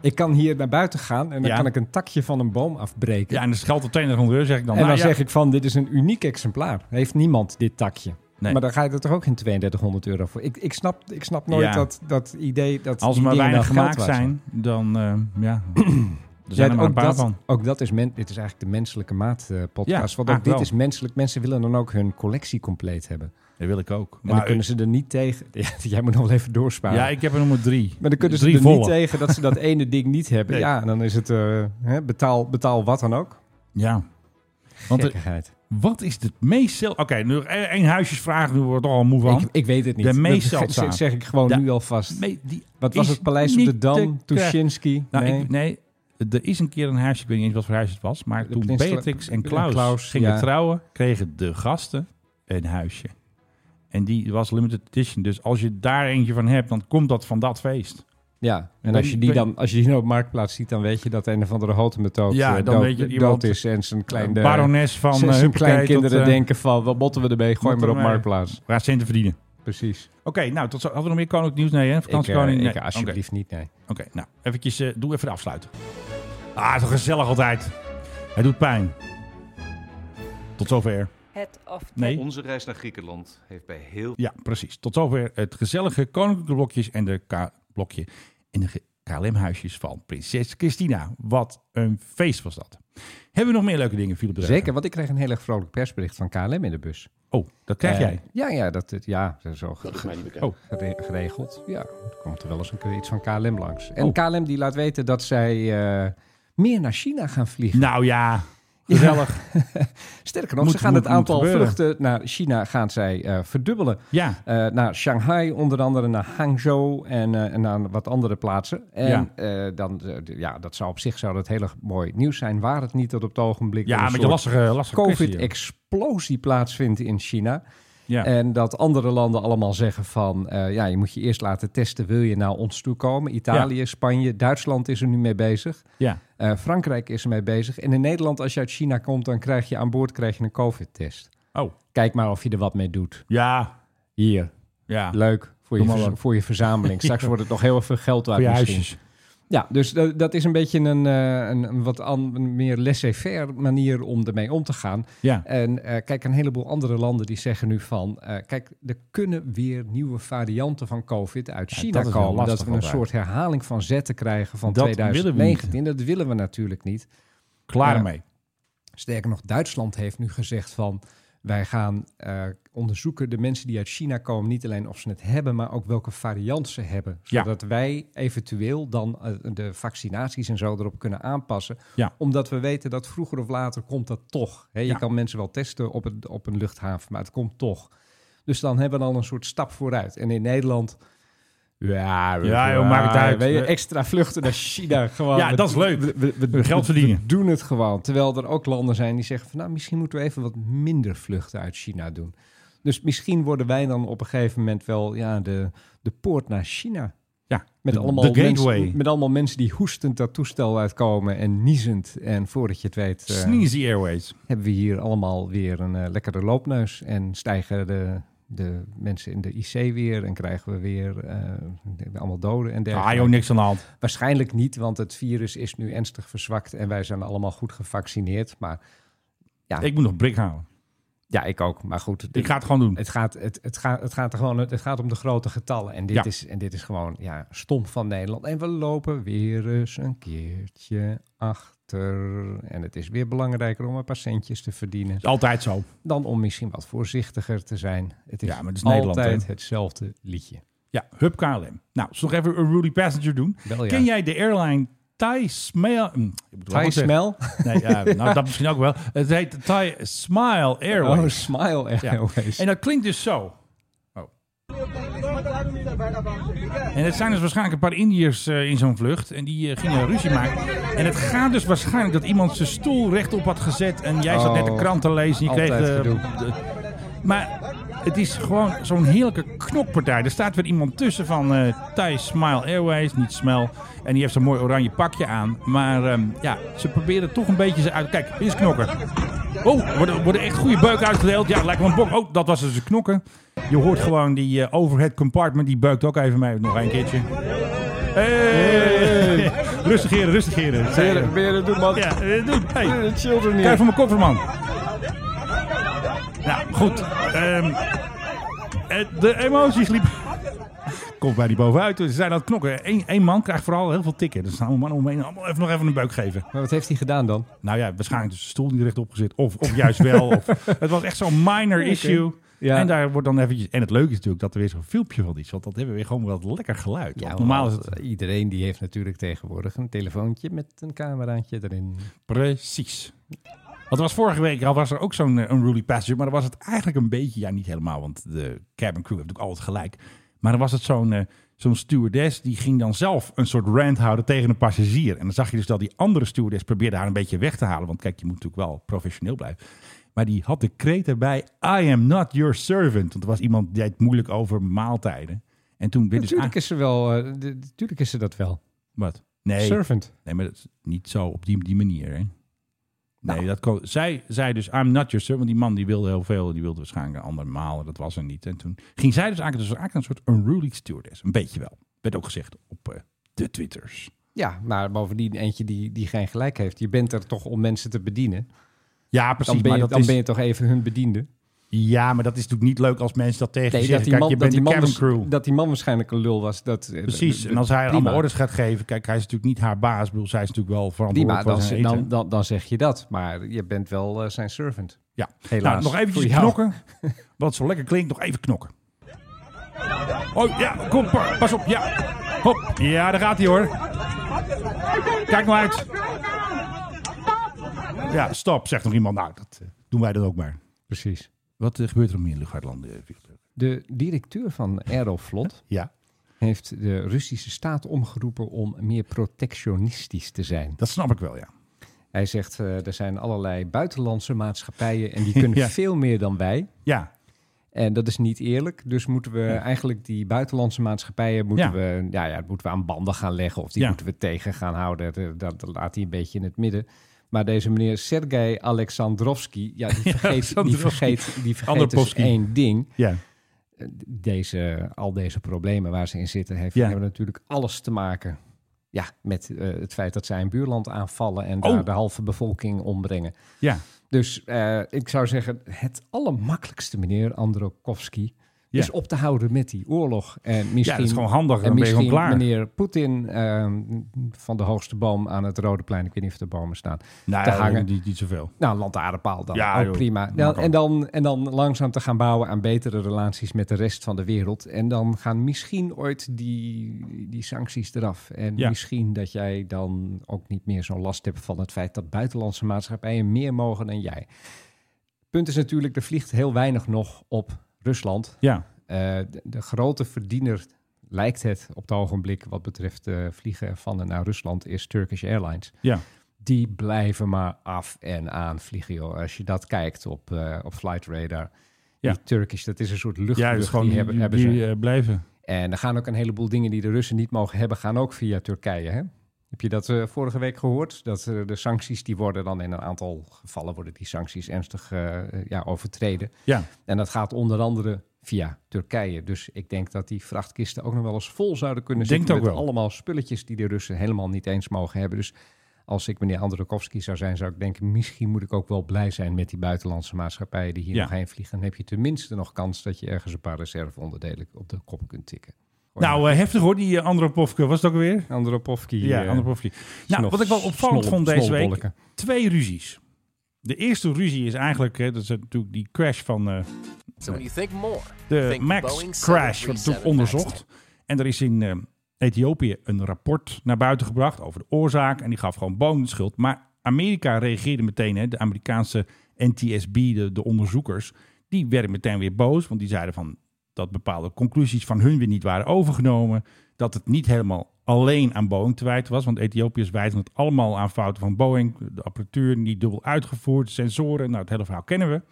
Ik kan hier naar buiten gaan en dan Ja. kan ik een takje van een boom afbreken. Ja, en dat geldt op 3200 euro, zeg ik dan. En dan Nou, ja. zeg ik van, dit is een uniek exemplaar. Heeft niemand dit takje. Nee. Maar dan ga je er toch ook geen 3200 euro voor. Ik, ik, snap, ik snap nooit Ja. dat, dat idee dat Als er die maar dingen weinig dan geld gemaakt waard zijn, dan eh, ja, er zijn er Ja, maar een ook, paar dat, van. ook dat is, men, dit is eigenlijk de menselijke maat eh, podcast. Ja, eigenlijk Want ook dit wel. is menselijk. Mensen willen dan ook hun collectie compleet hebben. Dat wil ik ook. en dan Maar kunnen ze er niet tegen... Ja, jij moet nog wel even doorsparen. Ja, ik heb er nummer drie. Maar dan kunnen ze drie er volle. niet tegen dat ze dat ene ding niet hebben. Nee. Ja, en dan is het eh, hè, betaal, betaal wat dan ook. Ja. Want eh, Gekkigheid. wat is het meest zel... Oké, nu één één huisjesvraag, nu wordt het al moe van. Ik, ik weet het niet. De Dat meest ge- zeldzaam. zeg, zeg ik gewoon De- nu alvast. Nee, die Wat was is het? Paleis op niet de Dam, te krijgen. Tuschinski. Nou, nee. ik, nee, er is een keer een huisje, ik weet niet eens wat voor huis het was, maar De toen prins Cla- Beatrix en en Klaus, Klaus, gingen ja. trouwen, kregen de gasten een huisje. En die was limited edition, dus als je daar eentje van hebt, dan komt dat van dat feest. Ja, en Dan- als je die dan als je die op marktplaats ziet, dan weet je dat een of andere hotemethode Ja, eh, dan dood, weet je dat iemand- dood is en zijn klein De barones van zijn, eh, zijn Huppakee kleinkinderen tot, eh, denken van wat botten we ermee? Gooi wat maar op ermee. marktplaats. Waar centen verdienen. Precies. Oké, nou, tot zo. Hadden we nog meer koninklijk nieuws? Nee, hè? Ik, eh, Vakantiekoning? ik, nee. Oké. alsjeblieft niet. Nee. Oké, nou, eventjes, eh, doe even de afsluiten. Ah, zo gezellig altijd. Het doet pijn. Tot zover. Het of Nee, Onze reis naar Griekenland heeft bij heel ja, precies. Tot zover het gezellige koninklijke blokjes en de K blokje en de KLM-huisjes van prinses Christina. Wat een feest was dat. Hebben we nog meer leuke dingen, Philip? Dreugen? Zeker, want ik kreeg een heel erg vrolijk persbericht van KLM in de bus. Oh, dat krijg Eh, jij. Ja, ja, dat, het- ja dat is zo ge- Oh, gere- geregeld. Ja, er komt er wel eens een keer iets van KLM langs. En Oh. KLM die laat weten dat zij eh, meer naar China gaan vliegen. nou ja, gezellig. Sterker nog, Moet- ze gaan moet- het moet aantal gebeuren. vluchten naar China gaan zij, eh, verdubbelen. Ja, Eh, naar Shanghai onder andere, naar Hangzhou en, eh, en naar wat andere plaatsen. En Ja. eh, dan, eh, d- ja, dat zou op zich zou dat heel erg mooi nieuws zijn. Waar het niet dat op het ogenblik ja een met je soort lastige, lastige kwestie, joh. COVID-explosie plaatsvindt in China. Ja. En dat andere landen allemaal zeggen van... eh, ja, je moet je eerst laten testen, wil je naar ons toe komen? Italië, Spanje, Duitsland is er nu mee bezig. ja. Eh, Frankrijk is ermee bezig. En in Nederland, als je uit China komt, dan krijg je aan boord krijg je een COVID-test. Oh, Kijk maar of je er wat mee doet. ja, Hier, ja. leuk. Voor je, Doe maar verz- wat. voor je verzameling. Straks wordt het nog heel veel geld waard Voor je misschien. huisjes. Ja, dus dat, dat is een beetje een, eh, een, een wat an- een meer laissez-faire manier om ermee om te gaan. Ja. En eh, kijk, een heleboel andere landen die zeggen nu van... eh, kijk, er kunnen weer nieuwe varianten van COVID uit China dat is heel komen. lastig Dat we een altijd. soort herhaling van zetten krijgen van Dat willen we niet. 2019. dat willen we natuurlijk niet. Klaar Ja. mee. Sterker nog, Duitsland heeft nu gezegd van... wij gaan eh, onderzoeken de mensen die uit China komen... niet alleen of ze het hebben, maar ook welke variant ze hebben. Ja. Zodat wij eventueel dan eh, de vaccinaties en zo erop kunnen aanpassen. Ja. Omdat we weten dat vroeger of later komt dat toch. Hè, je Ja. kan mensen wel testen op, het, op een luchthaven, maar het komt toch. Dus dan hebben we al een soort stap vooruit. En in Nederland... Ja, we- Ja, joh, maakt het ja, uit. weet je, We- extra vluchten naar China. Gewoon. Ja, We- dat is leuk. we- we- we- We geld verdienen. we doen het gewoon. Terwijl er ook landen zijn die zeggen van nou, misschien moeten we even wat minder vluchten uit China doen. Dus misschien worden wij dan op een gegeven moment wel ja, de, de poort naar China. Ja, Met, de- allemaal de gateway. Mensen, met allemaal mensen die hoestend dat toestel uitkomen en niezend. En voordat je het weet, eh, Sneezy Airways. hebben we hier allemaal weer een eh, lekkere loopneus. En stijgen de, de mensen in de IC weer en krijgen we weer eh, allemaal doden en dergelijke. Ah joh, niks aan de hand. Waarschijnlijk niet, want het virus is nu ernstig verzwakt en wij zijn allemaal goed gevaccineerd. Maar Ja. Ik moet nog brik halen. ja, ik ook. Maar goed, Ik ga het gewoon doen. het, gaat, het, het, gaat, het, gaat er gewoon, het gaat om de grote getallen. En dit, Ja. is, en dit is gewoon ja, stom van Nederland. En we lopen weer eens een keertje achter. beter. En het is weer belangrijker om een paar centjes te verdienen. Is Altijd zo. Dan om misschien wat voorzichtiger te zijn. Het is, Ja, maar het is altijd Nederland, hè? hetzelfde liedje. Ja, Hub KLM. Nou, zullen we nog even een Rudy Passenger doen? Wel, ja. Ken jij de airline Thai Smile? Hm, ik moet het wel Thai goed zeggen. Smell. Nee, ja, nou, dat misschien ook wel. Het heet Thai Smile Airways. Oh, Smile Ja. Airways. En dat klinkt dus zo. En het zijn dus waarschijnlijk een paar Indiërs eh, in zo'n vlucht. En die eh, gingen ruzie maken. En het gaat dus waarschijnlijk dat iemand zijn stoel rechtop had gezet. En jij zat net de Oh, krant te lezen. En je kreeg, altijd eh, gedoe. de- maar het is gewoon zo'n heerlijke knokpartij. Er staat weer iemand tussen van eh Thai Smile Airways, niet Smel. En die heeft zo'n mooi oranje pakje aan. Maar ehm, ja, ze proberen toch een beetje ze uit. Kijk, dit is knokken. Oh, er worden, worden echt goede beuken uitgedeeld. Ja, het lijkt wel een bok. Oh, dat was dus een knokken. Je hoort gewoon die eh, overhead compartment. Die beukt ook even mee. Nog een keertje. Hey. rustig heren, rustig heren. Zei- Beren, beren, doe man. Ja, eh, doe. Hey. De children Kijk hier. voor mijn koffer, man. Nou, goed. Ehm, eh, de emoties liepen... Komt bij die bovenuit. Ze zijn aan het knokken. Eén één man krijgt vooral heel veel tikken. Dus nou, man omheen. Allemaal even nog even een buik geven. Maar wat heeft hij gedaan dan? Nou ja, waarschijnlijk dus de stoel die rechtop gezet. Of, of juist wel. Of, het was echt zo'n minor issue. Ja. En daar wordt dan eventjes... En het leuke is natuurlijk dat er weer zo'n filmpje van is. Want dat hebben we weer gewoon wel lekker geluid. Want normaal is want, het... eh, Iedereen die heeft natuurlijk tegenwoordig een telefoontje met een cameraatje erin. Precies. Want er was vorige week al was er ook zo'n eh, unruly passenger, maar dan was het eigenlijk een beetje, ja niet helemaal, want de cabin crew heeft natuurlijk altijd gelijk. Maar dan was het zo'n eh, zo'n stewardess die ging dan zelf een soort rant houden tegen een passagier. En dan zag je dus dat die andere stewardess probeerde haar een beetje weg te halen, want kijk, je moet natuurlijk wel professioneel blijven. Maar die had de kreet erbij, I am not your servant. Want er was iemand die deed moeilijk over maaltijden. En toen werd dus Natuurlijk is ze wel, eh, de- natuurlijk is ze dat wel. aan- Wat? Nee. Servant. Nee, maar dat is niet zo op die, die manier, hè? Nee, dat kon, zij zei dus, I'm not your servant. Want die man die wilde heel veel. Die wilde waarschijnlijk een ander malen. Dat was er niet. En toen ging zij dus eigenlijk, dus eigenlijk een soort unruly stewardess. Een beetje wel. Werd ook gezegd op eh, de twitters. Ja, maar bovendien eentje die, die geen gelijk heeft. Je bent er toch om mensen te bedienen. Ja, precies. Dan ben maar je, dat dan is, ben je toch even hun bediende. Ja, maar dat is natuurlijk niet leuk als mensen dat tegen je dat zeggen. die, Kijk, man, je dat, bent die de man cabin was- crew. dat die man waarschijnlijk een lul was. Dat, eh, Precies, eh, en als hij prima. allemaal orders gaat geven, kijk, hij is natuurlijk niet haar baas. Ik bedoel, zij is natuurlijk wel Prima, verantwoordelijk dan, voor zijn eten. dan, dan, dan zeg je dat. Maar je bent wel eh, zijn servant. Ja, Helaas. Nou, nog eventjes Voor jou. knokken. Wat zo lekker klinkt, nog even knokken. Oh ja, kom, pa- pas op. Ja, hop. Ja, daar gaat hij hoor. Kijk maar uit. Ja, stop, zegt nog iemand. Nou, dat eh, doen wij dan ook maar. Precies. Wat eh, gebeurt er om in luchtvaartland, eh, Victor? De directeur van Aeroflot Ja, heeft de Russische staat omgeroepen om meer protectionistisch te zijn. dat snap ik wel, ja. Hij zegt, eh, er zijn allerlei buitenlandse maatschappijen en die kunnen Ja. veel meer dan wij. Ja, En dat is niet eerlijk. Dus moeten we eigenlijk die buitenlandse maatschappijen moeten Ja. we, ja, ja, dat moeten we aan banden gaan leggen. Of die Ja. moeten we tegen gaan houden. Dat, dat, dat laat hij een beetje in het midden. Maar deze meneer Sergei Alexandrovsky, ja, die vergeet, die Alexandrovsky. vergeet, die vergeet dus Andropovsky. één ding. ja. Deze, al deze problemen waar ze in zitten, heeft, Ja. hebben natuurlijk alles te maken ja, met eh, het feit dat zij een buurland aanvallen en Oh. daar de halve bevolking ombrengen. ja. Dus eh, ik zou zeggen, het allermakkelijkste, meneer Androkovsky, Ja. is op te houden met die oorlog. En ja, misschien, dat is gewoon handig. Dan en ben je misschien gewoon klaar. meneer Poetin eh, van de hoogste boom aan het Rode Plein, ik weet niet of er bomen staan, nou, te ja, hangen. Niet, niet zoveel. Nou, een lantaarnpaal dan. Ja, ook joh, prima. mag Dan, ook. en, dan, en dan langzaam te gaan bouwen aan betere relaties met de rest van de wereld. En dan gaan misschien ooit die, die sancties eraf. En Ja. misschien dat jij dan ook niet meer zo'n last hebt van het feit dat buitenlandse maatschappijen meer mogen dan jij. Punt is natuurlijk, er vliegt heel weinig nog op Rusland. Ja, Eh, de, de grote verdiener lijkt het op het ogenblik wat betreft eh, vliegen van en naar Rusland is Turkish Airlines ja. die blijven maar af en aan vliegen, joh. Als je dat kijkt op, eh op Flight Radar. Ja. Die Turkish, dat is een soort Ja, luchtbrug, dus gewoon die, die, hebben, hebben die, ze. eh, blijven. En er gaan ook een heleboel dingen die de Russen niet mogen hebben, gaan ook via Turkije, hè? Heb je dat eh, vorige week gehoord? Dat eh, de sancties, die worden dan in een aantal gevallen, worden die sancties ernstig eh, eh, ja, overtreden. Ja, En dat gaat onder andere via Turkije. Dus ik denk dat die vrachtkisten ook nog wel eens vol zouden kunnen Denk zitten ook met wel. allemaal spulletjes die de Russen helemaal niet eens mogen hebben. Dus als ik meneer Androkovsky zou zijn, zou ik denken, misschien moet ik ook wel blij zijn met die buitenlandse maatschappijen die hier Ja. nog heen vliegen. Dan heb je tenminste nog kans dat je ergens een paar reserveonderdelen op de kop kunt tikken. Nou, eh, heftig hoor, die eh, Andropovke. Was het ook weer? Andropovki. Ja, eh, Andropovke. Nou, snof- wat ik wel opvallend snol- vond deze week. snolbolken. Twee ruzies. De eerste ruzie is eigenlijk, hè, dat is natuurlijk die crash van eh, So when you think more, de think Boeing Max crash, wordt 737 natuurlijk onderzocht. En er is in eh, Ethiopië een rapport naar buiten gebracht over de oorzaak. En die gaf gewoon Boeing de schuld. Maar Amerika reageerde meteen, hè, de Amerikaanse NTSB, de, de onderzoekers, die werden meteen weer boos. Want die zeiden van dat bepaalde conclusies van hun weer niet waren overgenomen. Dat het niet helemaal alleen aan Boeing te wijten was. Want Ethiopiërs wijzen het allemaal aan fouten van Boeing. De apparatuur niet dubbel uitgevoerd, sensoren. Nou, het hele verhaal kennen we.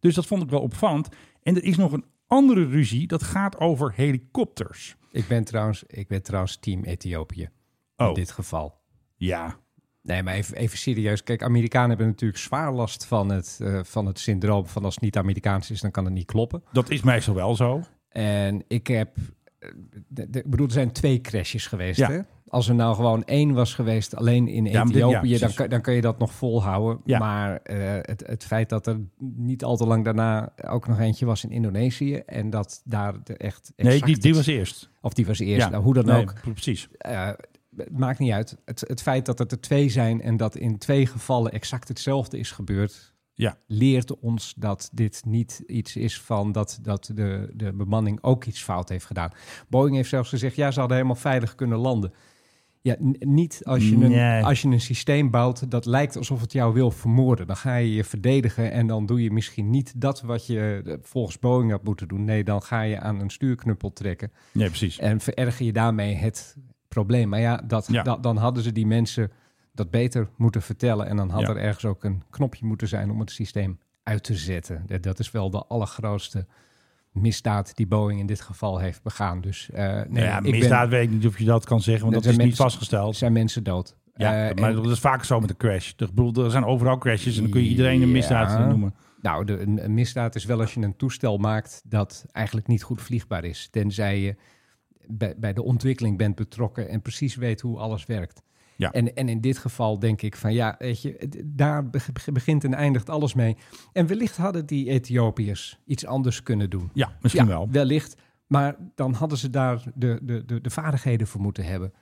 Dus dat vond ik wel opvallend. En er is nog een andere ruzie, dat gaat over helikopters. Ik ben trouwens, ik ben trouwens team Ethiopië. Oh. In dit geval. Ja. Nee, maar even, even serieus. Kijk, Amerikanen hebben natuurlijk zwaar last van het, eh, van het syndroom van als het niet Amerikaans is, dan kan het niet kloppen. Dat is meestal wel zo. En ik heb, eh, de- de- ik bedoel, er zijn twee crashes geweest. Ja. Hè? Als er nou gewoon één was geweest, alleen in Ja, maar dit- ja, Ethiopië, dan, precies. kan, dan kan je dat nog volhouden. Ja. Maar eh, het, het feit dat er niet al te lang daarna ook nog eentje was in Indonesië en dat daar de echt. Nee, exact die, die het- was eerst. Of die was eerst. Ja. Nou, hoe dan Nee, ook. Precies. eh, het maakt niet uit. Het, het feit dat het er twee zijn en dat in twee gevallen exact hetzelfde is gebeurd, Ja. leert ons dat dit niet iets is van dat, dat de, de bemanning ook iets fout heeft gedaan. Boeing heeft zelfs gezegd, ja, ze hadden helemaal veilig kunnen landen. Ja, n- niet als je, een, Nee. als je een systeem bouwt dat lijkt alsof het jou wil vermoorden. Dan ga je je verdedigen en dan doe je misschien niet dat wat je eh, volgens Boeing had moeten doen. Nee, dan ga je aan een stuurknuppel trekken. Nee, precies. En vererger je daarmee het probleem. Maar ja, dat, Ja. da- dan hadden ze die mensen dat beter moeten vertellen. En dan had Ja. er ergens ook een knopje moeten zijn om het systeem uit te zetten. Dat, dat is wel de allergrootste misdaad die Boeing in dit geval heeft begaan. Dus eh, nee, Nou ja, ik ben- misdaad weet ik niet of je dat kan zeggen, want Er dat zijn is niet mensen- vastgesteld. zijn mensen dood. Ja, Eh, maar en- dat is vaak zo met een crash. Ik bedoel, er zijn overal crashes en dan kun je iedereen een misdaad Ja. noemen. Nou, de, een, een misdaad is wel als je een toestel maakt dat eigenlijk niet goed vliegbaar is. Tenzij je bij, bij de ontwikkeling bent betrokken en precies weet hoe alles werkt. Ja. En, en in dit geval denk ik van ja, weet je, d- daar be- be- begint en eindigt alles mee. En wellicht hadden die Ethiopiërs iets anders kunnen doen. Ja, misschien Ja, wel. Wellicht. Maar dan hadden ze daar de, de, de, de vaardigheden voor moeten hebben.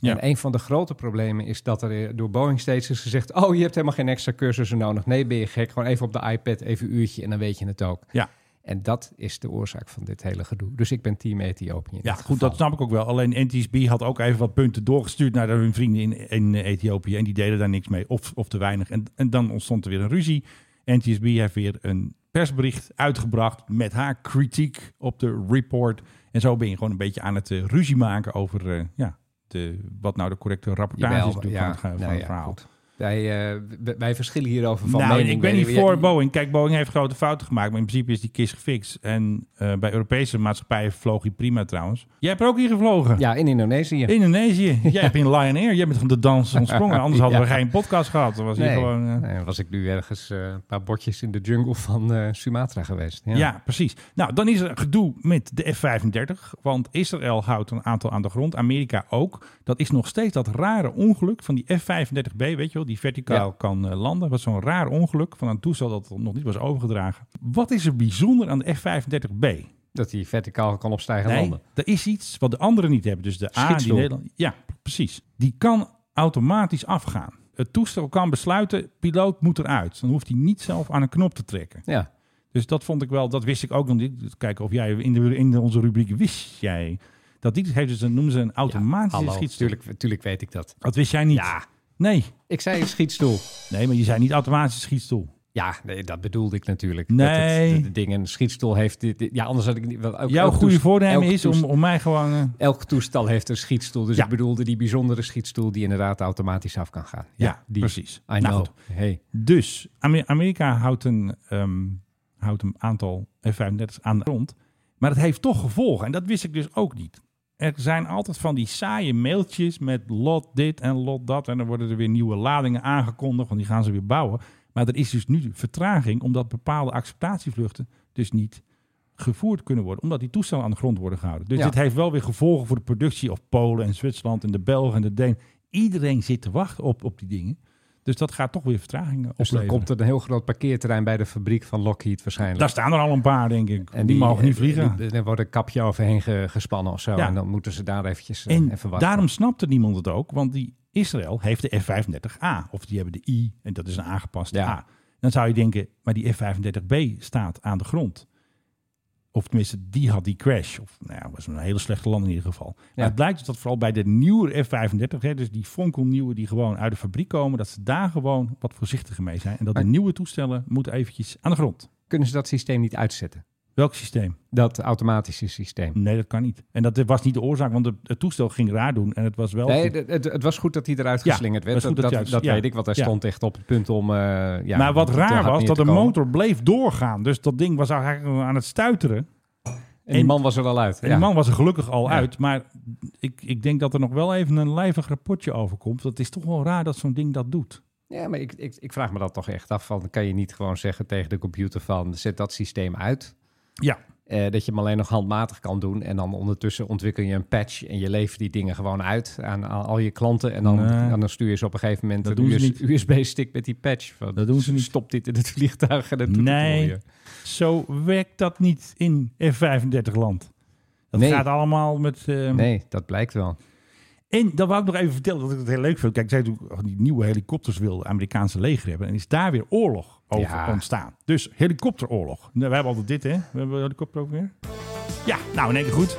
Ja. En een van de grote problemen is dat er eh, door Boeing steeds is gezegd... oh, je hebt helemaal geen extra cursussen nodig. Nee, ben je gek. Gewoon even op de iPad, even een uurtje en dan weet je het ook. Ja. En dat is de oorzaak van dit hele gedoe. Dus ik ben team Ethiopië. in Ja, dit goed, dat geval. snap ik ook wel. Alleen NTSB had ook even wat punten doorgestuurd naar hun vrienden in, in Ethiopië. En die deden daar niks mee, of, of te weinig. En, en dan ontstond er weer een ruzie. NTSB heeft weer een persbericht uitgebracht met haar kritiek op de report. En zo ben je gewoon een beetje aan het eh, ruzie maken over eh, ja, de, wat nou de correcte rapportage is Jawel, natuurlijk ja, van het, ge- van nou het ja, verhaal. goed. Wij, eh, w- wij verschillen hierover van nou, mening. ik ben Wij- niet voor jij- Boeing. Kijk, Boeing heeft grote fouten gemaakt, maar in principe is die kist gefixt. En eh, bij Europese maatschappijen vloog hij prima trouwens. Jij hebt er ook hier gevlogen. Ja, in Indonesië. Indonesië. Jij hebt in Lion Air. Jij bent gewoon de dans ontsprongen. Anders hadden we Ja. geen podcast gehad. Dan was hier Nee. gewoon. eh, Nee, dan was ik nu ergens eh, een paar bordjes in de jungle van eh, Sumatra geweest. ja. precies. Nou, dan is er gedoe met de F-35. Want Israël houdt een aantal aan de grond. Amerika ook. Dat is nog steeds dat rare ongeluk van die F-35B. Weet je wel, die verticaal Ja. kan eh, landen. Dat was zo'n raar ongeluk van een toestel dat nog niet was overgedragen. Wat is er bijzonder aan de F-35B? Dat hij verticaal kan opstijgen en Nee, landen. er is iets wat de anderen niet hebben. Dus de A die Schietstoel. Nederland. Ja, precies. Die kan automatisch afgaan. Het toestel kan besluiten, piloot moet eruit. Dan hoeft hij niet zelf aan een knop te trekken. Ja. Dus dat vond ik wel, dat wist ik ook nog niet. Dus Kijken of jij in, de, in onze rubriek wist jij dat die heeft, dus dan noemen ze een automatische Hallo, schietstoel. Tuurlijk, tuurlijk weet ik dat. Dat wist jij niet. Ja. Nee. Ik zei een schietstoel. nee, maar je zei niet automatische schietstoel. Ja, nee, dat bedoelde ik natuurlijk. Dat Nee. het, de, de ding een schietstoel heeft. dit- dit- ja, anders had ik niet. wel, elk- Jouw elk goede toest- voornemen elk is om, toest- om mij gewoon... eh, Elk toestel heeft een schietstoel. Dus Ja. ik bedoelde die bijzondere schietstoel die inderdaad automatisch af kan gaan. ja, die, precies. I know. Nou, goed. hey. Dus Amer- Amerika houdt een, ehm, houdt een aantal F-35's aan de grond. Maar dat heeft toch gevolgen. En dat wist ik dus ook niet. Er zijn altijd van die saaie mailtjes met lot dit en lot dat. En dan worden er weer nieuwe ladingen aangekondigd. Want die gaan ze weer bouwen. Maar er is dus nu vertraging omdat bepaalde acceptatievluchten dus niet gevoerd kunnen worden. Omdat die toestellen aan de grond worden gehouden. Dus Ja. dit heeft wel weer gevolgen voor de productie of Polen en Zwitserland en de Belgen en de Deen. Iedereen zit te wachten op, op die dingen. Dus dat gaat toch weer vertragingen Dus dan opleveren. komt er een heel groot parkeerterrein bij de fabriek van Lockheed waarschijnlijk. eh, Daar staan er al een paar, denk ik. die, mogen niet vliegen. Er er wordt een kapje overheen ge- gespannen of zo. Ja. En dan moeten ze daar eventjes eh, en even wachten. daarom snapte niemand het ook, want die Israël heeft de F-35A. Of die hebben de I, en dat is een aangepaste Ja. A. Dan zou je denken, maar die F-35B staat aan de grond. Of tenminste, die had die crash. Of, nou ja, was een hele slechte land in ieder geval. Ja. Maar het blijkt dus dat vooral bij de nieuwe F-35, hè, dus die fonkelnieuwe die gewoon uit de fabriek komen, dat ze daar gewoon wat voorzichtiger mee zijn. En dat de Maar- nieuwe toestellen moeten eventjes aan de grond. Kunnen ze dat systeem niet uitzetten? Welk systeem? Dat automatische systeem. Nee, dat kan niet. En dat was niet de oorzaak, want het, het toestel ging raar doen. En het was wel... Nee, goed. het, het- het was goed dat hij eruit Ja, geslingerd werd. was Dat, goed dat dat, hij dat, uit- ja. weet ik, want hij Ja. stond echt op het punt om... eh, ja, maar wat te raar hard was, neer dat te de komen. motor bleef doorgaan. Dus dat ding was eigenlijk aan het stuiteren. En die man was er al uit. En ja. die man was er gelukkig al Ja. uit. Maar ik, ik denk dat er nog wel even een lijvig rapportje over komt. Dat is toch wel raar dat zo'n ding dat doet. Ja, maar ik, ik, ik vraag me dat toch echt af. Van, kan je niet gewoon zeggen tegen de computer van... zet dat systeem uit. Ja, Eh, dat je hem alleen nog handmatig kan doen. En dan ondertussen ontwikkel je een patch. En je levert die dingen gewoon uit aan, aan al je klanten. En dan, Nee. en dan stuur je ze op een gegeven moment Dat een doen ze US- USB-stick met die patch. Van, Dat doen ze niet. Stop dit in het vliegtuig en dan doet het Nee. voor je. zo werkt dat niet in F-35 land. Dat Nee. gaat allemaal met... eh, Nee, dat blijkt wel. En dan wou ik nog even vertellen dat ik het heel leuk vind. Kijk, zij doen die nieuwe helikopters wil het Amerikaanse leger hebben. En is daar weer oorlog over Ja. ontstaan. Dus helikopteroorlog. Nou, we hebben altijd dit, hè? We hebben een helikopter ook weer. Ja, nou in één keer goed.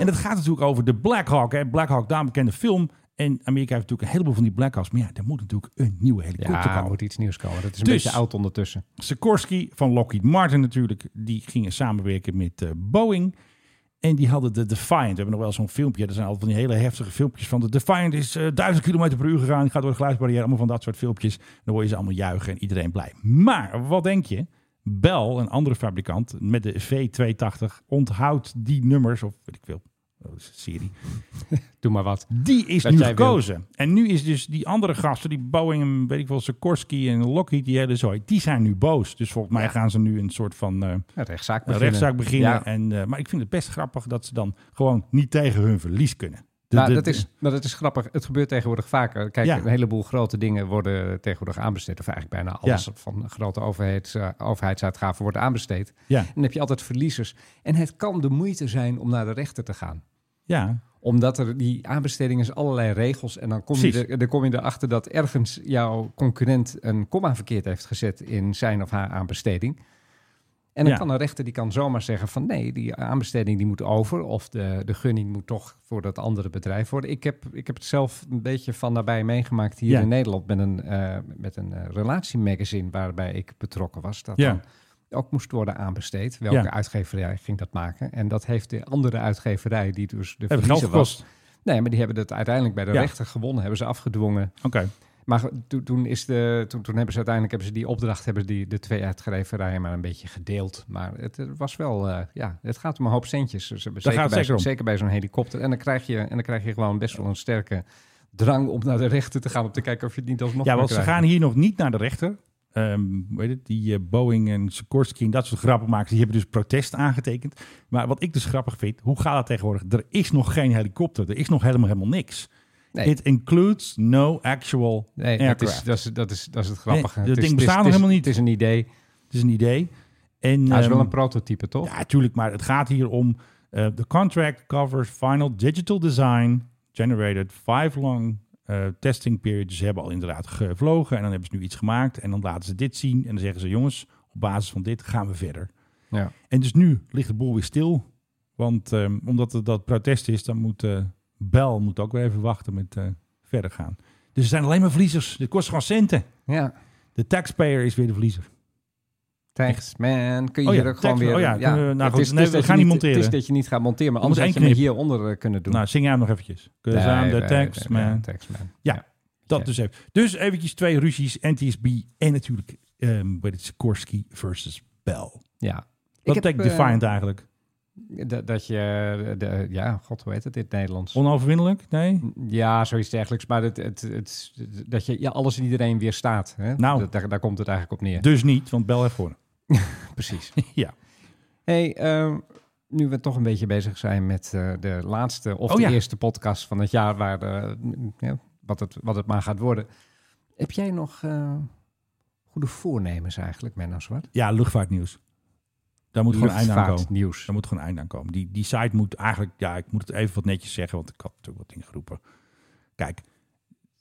En dat gaat natuurlijk over de Black Hawk. Hè? Black Hawk, daarom bekende film. En Amerika heeft natuurlijk een heleboel van die Black Hawks. Maar ja, er moet natuurlijk een nieuwe helikopter Ja, er komen. moet iets nieuws komen. Dat is een Dus- beetje oud ondertussen. Sikorsky van Lockheed Martin natuurlijk. Die gingen samenwerken met eh, Boeing. En die hadden de Defiant. We hebben nog wel zo'n filmpje. Er zijn altijd van die hele heftige filmpjes van de Defiant is eh, 1000 km per uur gegaan. Gaat door de geluidsbarrière. Allemaal van dat soort filmpjes. Dan hoor je ze allemaal juichen en iedereen blij. Maar wat denk je? Bell, een andere fabrikant, met de V280 onthoudt die nummers. Of weet ik veel. Dat is een serie. Doe maar wat. Die is Dat nu jij gekozen. En nu is dus die andere gasten, die Boeing en weet ik wel, Sikorsky en Lockheed, die hele zooi, die zijn nu boos. Dus volgens mij gaan ze nu een soort van eh, Ja, rechtszaak beginnen. rechtszaak beginnen. Ja. En, eh, maar ik vind het best grappig dat ze dan gewoon niet tegen hun verlies kunnen. De- Nou, de- dat is, maar dat is grappig. Het gebeurt tegenwoordig vaker. Kijk, Ja. een heleboel grote dingen worden tegenwoordig aanbesteed. Of eigenlijk bijna alles Ja. van grote overheids, eh, overheidsuitgaven wordt aanbesteed. Ja. En dan heb je altijd verliezers. En het kan de moeite zijn om naar de rechter te gaan Ja, omdat er die aanbesteding is allerlei regels. En dan kom, je, Precies. er- dan kom je erachter dat ergens jouw concurrent een komma verkeerd heeft gezet in zijn of haar aanbesteding. En dan Ja. kan een rechter die kan zomaar zeggen van nee, die aanbesteding die moet over. Of de, de gunning moet toch voor dat andere bedrijf worden. Ik heb, ik heb het zelf een beetje van nabij meegemaakt hier Ja. in Nederland met een, eh, met een eh, relatiemagazine waarbij ik betrokken was. Dat Ja. dan ook moest worden aanbesteed. Welke Ja. uitgeverij ging dat maken? En dat heeft de andere uitgeverij die dus de hebben geld verliezer was, gekost. Nee, maar die hebben het uiteindelijk bij de Ja. rechter gewonnen, hebben ze afgedwongen. Oké. Maar go- toen- toen, is de, toen, toen hebben ze uiteindelijk hebben ze die opdracht, hebben die, de twee uitgeverijen maar een beetje gedeeld. Maar het, eh, was wel, eh, ja, het gaat om een hoop centjes. Dus, eh, zeker, gaat het bij, zeker om. zeker bij zo'n helikopter. En dan, krijg je, en dan krijg je gewoon best wel een sterke drang om naar de rechter te gaan, om te kijken of je het niet alsnog Ja, kan want ze krijgen. gaan hier nog niet naar de rechter. Ehm weet het, die eh, Boeing en Sikorsky en dat soort grappenmakers, die hebben dus protest aangetekend. Maar wat ik dus grappig vind, hoe gaat dat tegenwoordig? Er is nog geen helikopter, er is nog helemaal, helemaal niks. Nee. It includes no actual Nee, dat is, aircraft. Dat dat, is, dat, is, dat is het grappige. dat Het is- ding het is- bestaat nog het is- helemaal niet. Het is een idee. is, een idee. En, Hij Nou, is wel ehm, een prototype, toch? ja, tuurlijk, maar het gaat hier om eh, de contract covers final digital design generated five long eh, testing period. Dus ze hebben al inderdaad gevlogen en dan hebben ze nu iets gemaakt en dan laten ze dit zien en dan zeggen ze jongens, op basis van dit gaan we verder. Ja. En dus nu ligt de boel weer stil, want ehm, omdat het dat protest is, dan moet eh Bel moet ook weer even wachten met eh, verder gaan. Dus er zijn alleen maar verliezers. Dit kost gewoon centen. ja. De taxpayer is weer de verliezer. Taxman, kun je Oh ja, hier ook gewoon tax- weer... oh ja, kunnen we- nou goed, nee, dat we je gaan niet monteren. Het is dat je niet gaat monteren, maar Er moet anders had je één hem hieronder eh, kunnen doen. Nou, zing jij hem nog eventjes. Cause Nee, I'm the nee, tax nee, man. ja, taxman. Ja, dat Ja. dus even. Dus eventjes twee ruzies, NTSB en natuurlijk ehm weet het, Sikorsky versus Bell. Ja. Ik Wat heb, betekent eh, Defiant eigenlijk? dat- Dat je... eh, de- Ja, god, hoe heet het in het Nederlands? Onoverwinnelijk? Nee? Ja, zoiets dergelijks. Maar het, het, het, dat je ja, alles en iedereen weerstaat. Hè? Nou. Dat- daar, daar komt het eigenlijk op neer. Dus niet, want Bell heeft gewonnen. Precies. Ja. Hey, ehm, nu we toch een beetje bezig zijn met eh, de laatste of Oh de ja. eerste podcast van het jaar, waar de, ja, wat, het, wat het maar gaat worden. Heb jij nog eh, goede voornemens eigenlijk, Menno Zwart? Ja, luchtvaartnieuws. Daar moet gewoon een einde aan komen. Luchtvaartnieuws. Daar moet gewoon een einde aan komen. Die, die site moet eigenlijk, ja, ik moet het even wat netjes zeggen, want ik had natuurlijk wat ingeroepen. Kijk,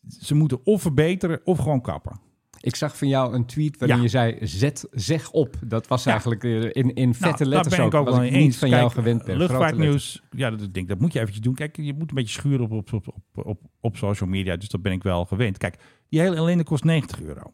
ze moeten of verbeteren of gewoon kappen. Ik zag van jou een tweet waarin Ja. je zei, zet, zeg op. Dat was Ja. eigenlijk eh, in, in Nou, vette daar letters ben ik ook wat wel ik mee niet eens. van Kijk, jou gewend ben. Grote Luchtvaartnieuws, ja, dat, ik denk, dat moet je eventjes doen. Kijk, je moet een beetje schuren op, op, op, op, op, op social media, dus dat ben ik wel gewend. Kijk, die hele ellende kost 90 euro.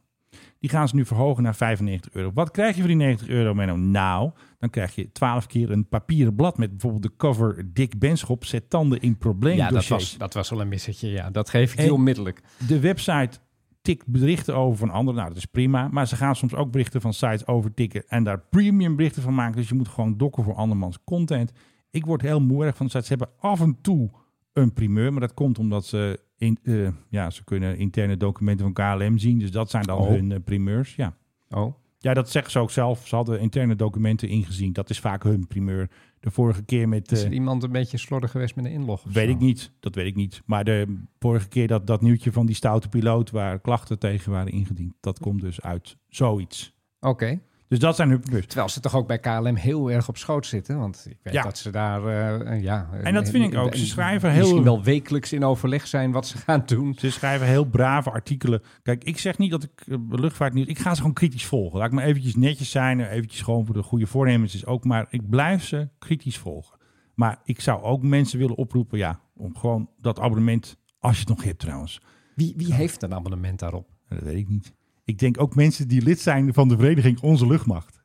Die gaan ze nu verhogen naar 95 euro. Wat krijg je voor die 90 euro, Menno? Nou, dan krijg je 12 keer een papieren blad met bijvoorbeeld de cover Dick Benschop zet tanden in probleem. Ja, dat was, dat was wel een missetje. Ja, dat geef ik je En- onmiddellijk. De website tikt berichten over van anderen. Nou, dat is prima. Maar ze gaan soms ook berichten van sites overtikken en daar premium berichten van maken. Dus je moet gewoon dokken voor andermans content. Ik word heel moe erg van de sites. Ze hebben af en toe een primeur, maar dat komt omdat ze, in, eh, ja, ze kunnen interne documenten van KLM zien. Dus dat zijn dan Oh. hun eh, primeurs. Ja. Oh, ja, dat zeggen ze ook zelf. Ze hadden interne documenten ingezien. Dat is vaak hun primeur. De vorige keer met... is eh, er iemand een beetje slordig geweest met een inlog? of Weet zo? ik niet, dat weet ik niet. Maar de vorige keer dat, dat nieuwtje van die stoute piloot waar klachten tegen waren ingediend, dat komt dus uit zoiets. Oké. Dus dat zijn hun primeurs. Terwijl ze toch ook bij KLM heel erg op schoot zitten. Want ik weet Ja. dat ze daar... eh, ja, En dat vind ik ook. Ze schrijven heel- Misschien wel wekelijks in overleg zijn wat ze gaan doen. Ze schrijven heel brave artikelen. Kijk, ik zeg niet dat ik eh, luchtvaartnieuws... Ik ga ze gewoon kritisch volgen. Laat ik maar eventjes netjes zijn. en Eventjes gewoon voor de goede voornemens is ook. Maar ik blijf ze kritisch volgen. Maar ik zou ook mensen willen oproepen... Ja, om gewoon dat abonnement... Als je het nog hebt trouwens. Wie, wie heeft een abonnement daarop? Dat weet ik niet. Ik denk ook mensen die lid zijn van de vereniging Onze Luchtmacht.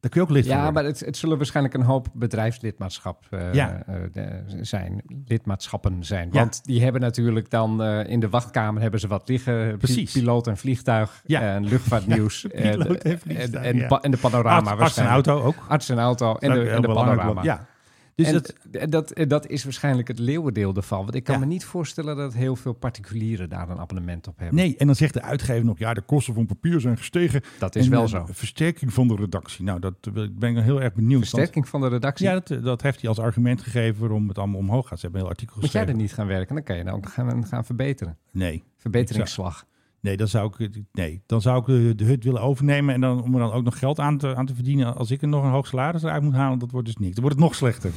Daar kun je ook lid van Ja, worden. maar het, het zullen waarschijnlijk een hoop bedrijfslidmaatschap eh, Ja. eh, de- zijn, lidmaatschappen zijn. Ja. Want die hebben natuurlijk dan eh, in de wachtkamer hebben ze wat liggen. Pi- Precies. Piloot en vliegtuig Ja. en luchtvaartnieuws. en, piloot en vliegtuig, en, en, ja. pa- en de panorama Arts- arts en waarschijnlijk. auto ook. Arts en auto en Dat is de, ook en de heel belangrijk, panorama. want- Ja. Dus en eh, dat, dat... Dat, dat is waarschijnlijk het leeuwendeel ervan. Want ik kan Ja. me niet voorstellen dat heel veel particulieren daar een abonnement op hebben. nee, en dan zegt de uitgever nog, ja, de kosten van papier zijn gestegen. Dat is En, wel eh, zo. Versterking van de redactie. Nou, dat eh, ben ik heel erg benieuwd. Versterking van de Want- redactie. Ja, dat, eh, dat heeft hij als argument gegeven waarom het allemaal omhoog gaat. Ze hebben een heel artikel Moet jij geschreven. er niet gaan werken? Dan kan je dan ook gaan, gaan verbeteren. Nee. Verbeteringsslag. Nee, dan zou ik, het- nee, dan zou ik eh, de, de hut willen overnemen. En dan om er dan ook nog geld aan te, aan te verdienen. Als ik er nog een hoog salaris uit moet halen, dat wordt dus niks. Dan wordt het nog slechter.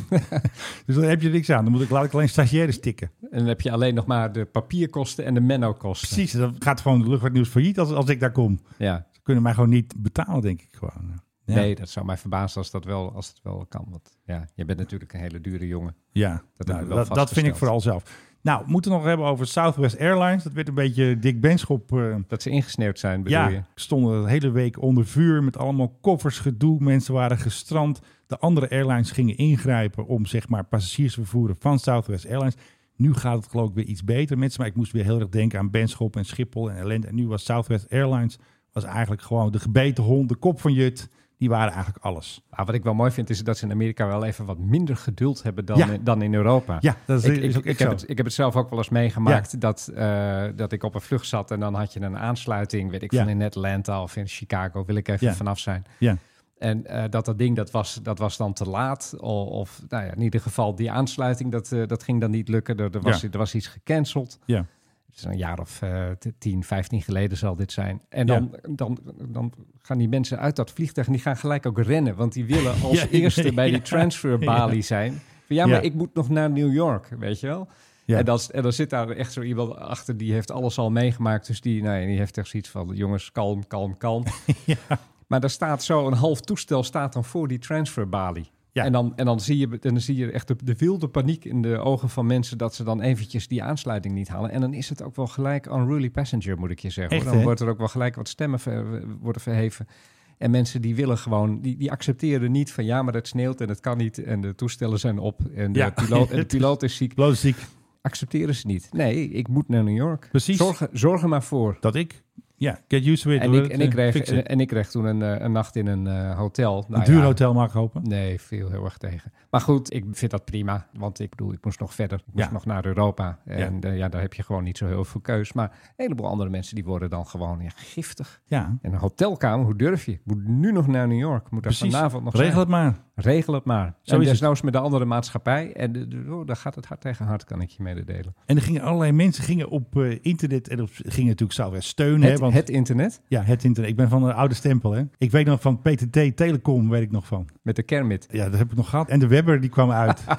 dus dan heb je niks aan. Dan moet ik, laat ik alleen stagiaires tikken. En dan heb je alleen nog maar de papierkosten en de menno-kosten. Precies, dan gaat gewoon de luchtvaartnieuws failliet als, als ik daar kom. Ja. Ze kunnen mij gewoon niet betalen, denk ik gewoon. Ja. Nee, dat zou mij verbazen als dat wel, als het wel kan. Want ja, je bent natuurlijk een hele dure jongen. Ja, Dat dat, hebben we wel dat, dat vind ik vastgesteld. vooral zelf. Nou, we moeten nog hebben over Southwest Airlines. Dat werd een beetje Dick Benschop. eh, Dat ze ingesneeuwd zijn, bedoel ja, je? stonden de hele week onder vuur met allemaal koffers, gedoe. Mensen waren gestrand. De andere airlines gingen ingrijpen om zeg maar passagiers te vervoeren van Southwest Airlines. Nu gaat het geloof ik weer iets beter met ze. Maar ik moest weer heel erg denken aan Benschop en Schiphol en ellende. En nu was Southwest Airlines was eigenlijk gewoon de gebeten hond, de kop van Jut. Die waren eigenlijk alles. Maar Ah, wat ik wel mooi vind, is dat ze in Amerika wel even wat minder geduld hebben dan, Ja. dan in Europa. Ja, dat is- ik, is ik, ook ik echt heb zo. het, ik heb het zelf ook wel eens meegemaakt dat, eh, dat ik op een vlucht zat en dan had je een aansluiting, weet ik Ja. van in Atlanta of in Chicago, wil ik even Ja. vanaf zijn. Ja. En eh, dat dat ding, dat was, dat was dan te laat. O- Of, nou ja, in ieder geval die aansluiting, dat, eh, dat ging dan niet lukken. Er, er, was, Ja. er was iets gecanceld. Ja. Het is een jaar of eh, t- 10, 15 geleden zal dit zijn. En dan, dan, dan gaan die mensen uit dat vliegtuig en die gaan gelijk ook rennen. Want die willen als Ja, ik eerste weet- bij die ja. transferbalie zijn. Van, ja, maar Ja. ik moet nog naar New York, weet je wel. Ja. En, dan, en dan zit daar echt zo iemand achter, die heeft alles al meegemaakt. Dus die, nou ja, die heeft echt zoiets van, jongens, kalm, kalm, kalm. Maar daar staat zo een half toestel staat dan voor die transferbalie. Ja. En, dan, en dan zie je, en dan zie je echt de, de wilde paniek in de ogen van mensen dat ze dan eventjes die aansluiting niet halen. En dan is het ook wel gelijk unruly passenger, moet ik je zeggen. hoor. Echt, dan hè? wordt er ook wel gelijk wat stemmen ver- worden verheven. En mensen die willen gewoon, die, die accepteren niet van ja, maar het sneeuwt en het kan niet. En de toestellen zijn op en de, Ja. piloot, en de piloot is ziek. Logistiek, Accepteren ze niet. Nee, ik moet naar New York. Precies. Zorg, er- zorg er maar voor. dat ik. Ja, get used to it. En hoor. ik, en, Eh, ik kreeg, fix it. en, en ik kreeg toen een, eh, een nacht in een eh, hotel. Nou een duur ja, hotel mag ik hopen. Nee, viel heel erg tegen. Maar goed, ik vind dat prima. Want ik bedoel, ik moest nog verder. Ik moest Ja. nog naar Europa. En eh, ja, daar heb je gewoon niet zo heel veel keus. Maar een heleboel andere mensen die worden dan gewoon ja, giftig. Ja, En een hotelkamer, hoe durf je? Ik moet nu nog naar New York. Ik Moet daar precies. vanavond nog Regel zijn. het maar. Regel het maar. Zo en is het. desnoods met de andere maatschappij. En de- de- oh, daar gaat het hard tegen hard, kan ik je mededelen. En er gingen allerlei mensen gingen op eh, internet en op, gingen natuurlijk Southwest steunen. het, hè, want, het internet ja, het internet. Ik ben van een oude stempel. Hè. Ik weet nog van PTT Telecom, weet ik nog van. met de Kermit. Ja, dat heb ik nog gehad. En de Webber die kwam uit. Dan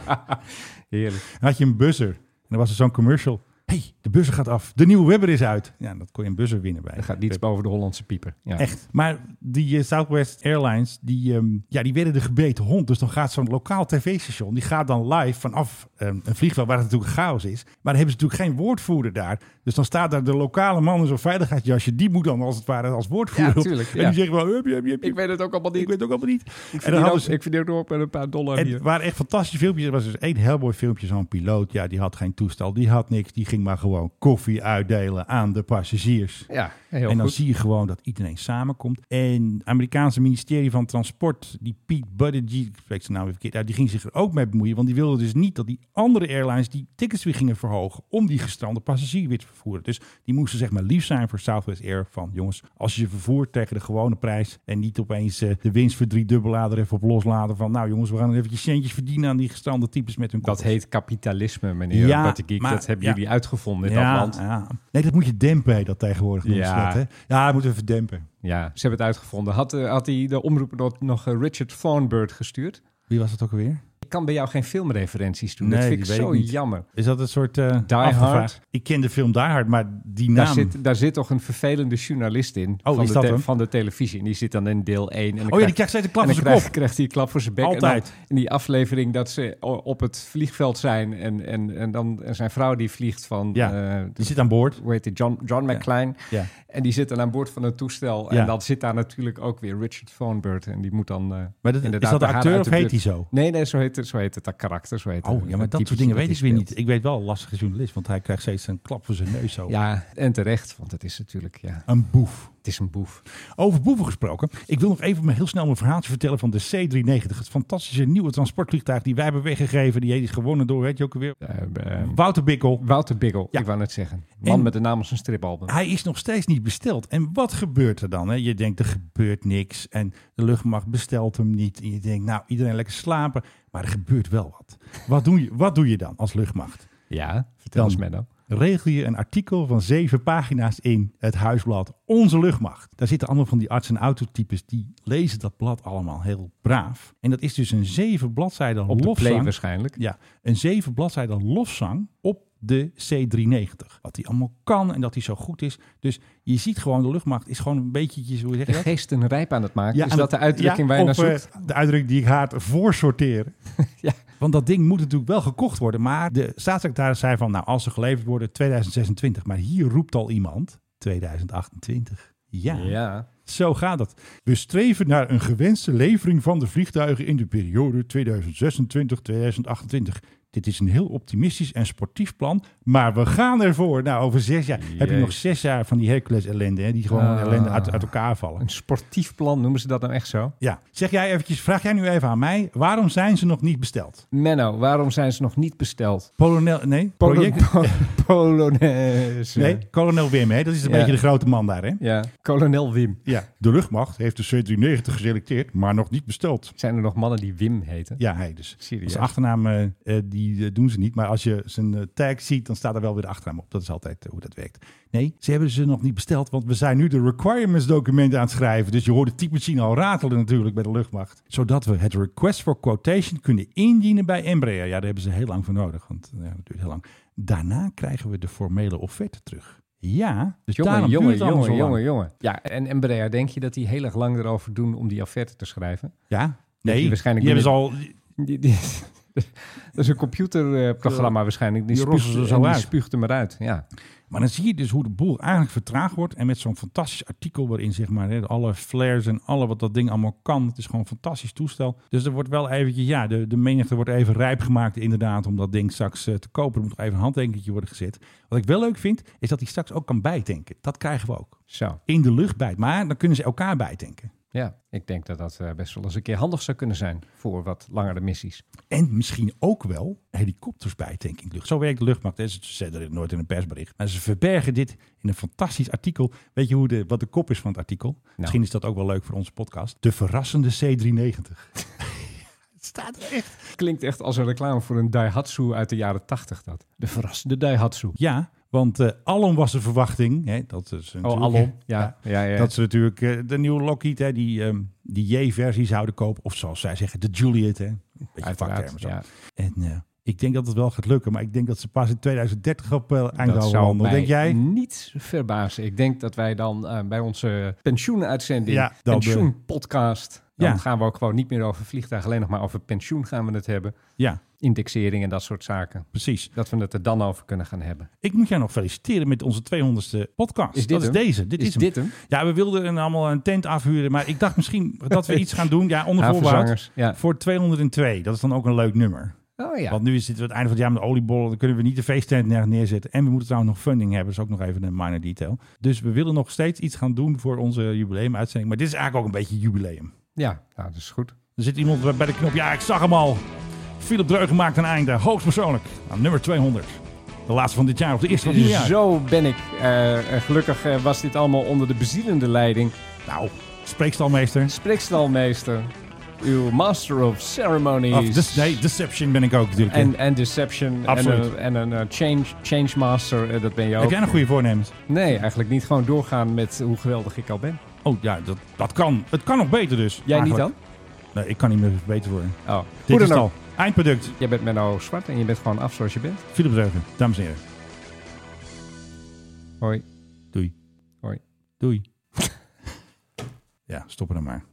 Heerlijk. had je een buzzer. En dan was er zo'n commercial. hey, de buzzer gaat af. De nieuwe Webber is uit. Ja, dat kon je een buzzer winnen bij. Er gaat niets boven de Hollandse pieper. Ja. Echt. Maar die eh, Southwest Airlines, die, ehm, ja, die werden de gebeten hond. Dus dan gaat zo'n lokaal tv-station, die gaat dan live vanaf ehm, een vliegveld waar het natuurlijk chaos is. Maar dan hebben ze natuurlijk geen woordvoerder daar. Dus dan staat daar de lokale man in zo'n veiligheidsjasje. Die moet dan als het ware als woordvoerder. Ja, op. tuurlijk, En ja. die zegt wel, hup, hup, hup, Ik hup. weet het ook allemaal niet. ik weet het ook allemaal niet. Ik en dan verdien, ook, hadden ze, ik verdien ook met een paar dollar en hier. het waren echt fantastische filmpjes. Er was dus één Hellboy filmpje, zo'n piloot. Ja, die had geen toestel, die had niks. Die ging maar gewoon koffie uitdelen aan de passagiers Ja, heel en dan goed. zie je gewoon dat iedereen samenkomt. En het Amerikaanse ministerie van Transport, die Pete Buttigieg, ik spreek zijn naam even verkeerd uit, die ging zich er ook mee bemoeien. Want die wilde dus niet dat die andere airlines die tickets weer gingen verhogen om die gestrande passagier weer te vervoeren. Dus die moesten zeg maar lief zijn voor Southwest Air van jongens, als je ze vervoert tegen de gewone prijs en niet opeens eh, de winst voor drie dubbelader even op loslaten van nou jongens, we gaan eventjes centjes verdienen aan die gestrande types met hun Dat koppels. heet kapitalisme, meneer Ja, Battegeek. maar- dat hebben ja. jullie uitgevonden in ja, dat land. ja. Nee, dat moet je dempen, heet dat tegenwoordig. noemen ze Ja. dat, hè? ja dat moeten we verdempen. Ja, ze hebben het uitgevonden. Had, eh, had hij de omroeper nog, nog eh, Richard Thornbird gestuurd? Wie was dat ook alweer? Ik kan bij jou geen filmreferenties doen. dat Nee, vind ik die weet zo ik niet. jammer. Is dat een soort eh Die afgevraagd? Hard? Ik ken de film Die Hard, maar die naam. Daar zit, daar zit toch een vervelende journalist in Oh, van, is de dat te- hem? van de televisie. En die zit dan in deel 1. En dan oh ja, die krijgt steeds een klap en voor dan zijn krijgt, kop. krijgt hij een klap voor zijn bek. En Altijd. dan in die aflevering dat ze o- op het vliegveld zijn. En, en, en dan en zijn vrouw die vliegt van... Ja, eh, Die zit aan boord. hoe heet die? John, John McClane. Ja. En die zit dan aan boord van het toestel. Ja. En dan zit daar natuurlijk ook weer Richard Thornbird. En die moet dan. eh, Maar dat, is inderdaad dat de haar acteur uit of heet buurt- hij zo? Nee, nee, zo heet het, zo heet het dat karakter. Zo heet Oh het, ja, maar het dat typetje soort dingen dat weet ik hij weer niet. speelt. Ik weet wel, een lastige journalist, want hij krijgt steeds een klap voor zijn neus zo. Ja, en terecht, want het is natuurlijk, ja, Een boef. het is een boef. Over boeven gesproken. Ik wil nog even maar heel snel mijn verhaaltje vertellen van de C-390. Het fantastische nieuwe transportvliegtuig die wij hebben weggegeven. Die is gewonnen door, weet je ook weer, Eh, eh, Wouter Bikkel. Wouter Biggel, Ja. ik wou net zeggen. Man En- met de naam als een stripalbum. Hij is nog steeds niet besteld. En wat gebeurt er dan? Hè? Je denkt, er gebeurt niks. En de luchtmacht bestelt hem niet. En je denkt, nou, iedereen lekker slapen. Maar er gebeurt wel wat. Wat doe je, wat doe je dan als luchtmacht? Ja, vertel Dan- eens Menno. Regel je een artikel van zeven pagina's in het huisblad Onze Luchtmacht. Daar zitten allemaal van die arts- en autotypes. Die lezen dat blad allemaal heel braaf. En dat is dus een zeven bladzijden Op de play lofzang. waarschijnlijk. Ja, een zeven bladzijden lofzang op de C390. Wat hij allemaal kan en dat hij zo goed is. Dus je ziet gewoon, de luchtmacht is gewoon een beetje, hoe zeg je De dat? geesten rijp aan het maken. is en dat de uitdrukking ja, waar je naar of, zoekt? eh, de uitdrukking die ik haat, voorsorteren. Ja. Want dat ding moet natuurlijk wel gekocht worden. Maar de staatssecretaris zei van, nou, als ze geleverd worden, 2026. Maar hier roept al iemand, 2028. eh, Ja, ja. zo gaat dat. We streven naar een gewenste levering van de vliegtuigen in de periode 2026-2028. Dit is een heel optimistisch en sportief plan, maar we gaan ervoor. Nou, over zes jaar heb je Jezus. nog zes jaar van die Hercules-ellende, hè, die gewoon Ah. ellende uit, uit elkaar vallen. Een sportief plan, noemen ze dat nou echt zo? Ja, zeg jij eventjes, vraag jij nu even aan mij, waarom zijn ze nog niet besteld? Menno, waarom zijn ze nog niet besteld? Polonel, nee, project, Polo- Polonaise. nee, kolonel Wim, hè, dat is een Ja. beetje de grote man daar, hè? Ja, kolonel Wim. Ja, de luchtmacht heeft de C-390 geselecteerd, maar nog niet besteld. Zijn er nog mannen die Wim heten? Ja, hij dus. Serieus? Zijn achternaam, eh, eh, die eh, doen ze niet. Maar als je zijn eh, tag ziet, dan staat er wel weer de achternaam op. Dat is altijd eh, hoe dat werkt. Nee, ze hebben ze nog niet besteld. Want we zijn nu de requirements documenten aan het schrijven. Dus je hoort de typemachine al ratelen natuurlijk bij de luchtmacht. Zodat we het request for quotation kunnen indienen bij Embraer. Ja, daar hebben ze heel lang voor nodig. Want eh, ja, dat duurt heel lang. Daarna krijgen we de formele offerte terug. Ja, dus Jongen, daarom jongen, duurt het allemaal jongen, zo lang. jongen, jongen. Ja, en Embraer, denk je dat die heel erg lang erover doen om die offerte te schrijven? Ja? Dat Nee, je waarschijnlijk waarschijnlijk die hebben ze al... Die, die- dat is een computerprogramma waarschijnlijk. Die, die spuugt, rossen ze zo en die uit. spuugt hem eruit. Ja. Maar dan zie je dus hoe de boel eigenlijk vertraagd wordt. En met zo'n fantastisch artikel waarin zeg maar hè, alle flares en alle wat dat ding allemaal kan. Het is gewoon een fantastisch toestel. Dus er wordt wel eventjes, ja, de, de menigte wordt even rijp gemaakt inderdaad om dat ding straks eh, te kopen. Er moet nog even een handtekentje worden gezet. Wat ik wel leuk vind, is dat hij straks ook kan bijtanken. Dat krijgen we ook. Zo, In de lucht bijt. Maar dan kunnen ze elkaar bijtanken. ja. Ik denk dat dat eh, best wel eens een keer handig zou kunnen zijn voor wat langere missies. En misschien ook wel helikopters bijtanken in de lucht. Zo werkt de luchtmacht. hè. Ze zetten het nooit in een persbericht. Maar ze verbergen dit in een fantastisch artikel. Weet je hoe de, wat de kop is van Nou. het artikel? Misschien is dat ook wel leuk voor onze podcast. De verrassende C390. staat er echt. Klinkt echt als een reclame voor een Daihatsu uit de jaren 80 dat. De verrassende Daihatsu. Oh, Ja, want eh alom was de verwachting. Hè, dat is natuurlijk- Ja, ja, ja. Dat ze natuurlijk eh, de nieuwe Lockheed, hè, die, ehm, die J-versie zouden kopen. Of zoals zij zeggen, de Juliet. Hè. Beetje vaktermen uiteraard. zo. Ja. En eh, ik denk dat het wel gaat lukken. Maar ik denk dat ze pas in 2030 op eh aan Dat gaan zou wandelen. mij Denk jij? niet verbazen. Ik denk dat wij dan eh, bij onze pensioenuitzending, Ja, dan de- pensioenpodcast, dan Ja. gaan we ook gewoon niet meer over vliegtuigen, alleen nog maar over pensioen gaan we het hebben. Ja, Indexering en dat soort zaken. precies. Dat we het er dan over kunnen gaan hebben. Ik moet jou nog feliciteren met onze 200ste podcast. Is dit dat hem? is deze. Dit is, hem. dit hem? Ja, we wilden een, allemaal een tent afhuren. Maar ik dacht misschien dat we iets gaan doen. Ja, onder voorbehoud. Havenzangers. Ja. Voor 202. Dat is dan ook een leuk nummer. Oh ja. Want nu zitten we het einde van het jaar met de oliebollen. Dan kunnen we niet de feesttent neer- neerzetten. En we moeten trouwens nog funding hebben. Dat is ook nog even een minor detail. Dus we willen nog steeds iets gaan doen voor onze jubileumuitzending. Maar dit is eigenlijk ook een beetje jubileum. Ja, nou, dat is goed. Er zit iemand bij- bij de knop. Ja, ik zag hem al. Philip Dreugen maakt een einde. Hoogstpersoonlijk. Aan nummer 200. De laatste van dit jaar. Of de eerste van dit jaar. Zo ben ik. eh, eh, gelukkig eh, was dit allemaal onder de bezielende leiding. Nou, spreekstalmeester. Spreekstalmeester, uw master of dus, ceremonies. Of de- nee, Deception ben ik ook natuurlijk. En, en Deception. Absoluut. En, een- en een eh, change, change Master, eh, dat ben je ook. Heb jij nog goede voornemens? Nee, eigenlijk niet. Gewoon doorgaan met hoe geweldig ik al ben. Oh ja, dat, dat kan. Het kan nog beter dus. Jij eigenlijk. Nee, ik kan niet meer beter worden. niet dan? Oh, Dit hoe is dan het ook. al. Eindproduct. Jij bent Menno Zwart en je bent gewoon af zoals je bent. Philip Dreugen. Dames en heren. Hoi. Doei. Hoi. Doei. ja, stoppen dan maar.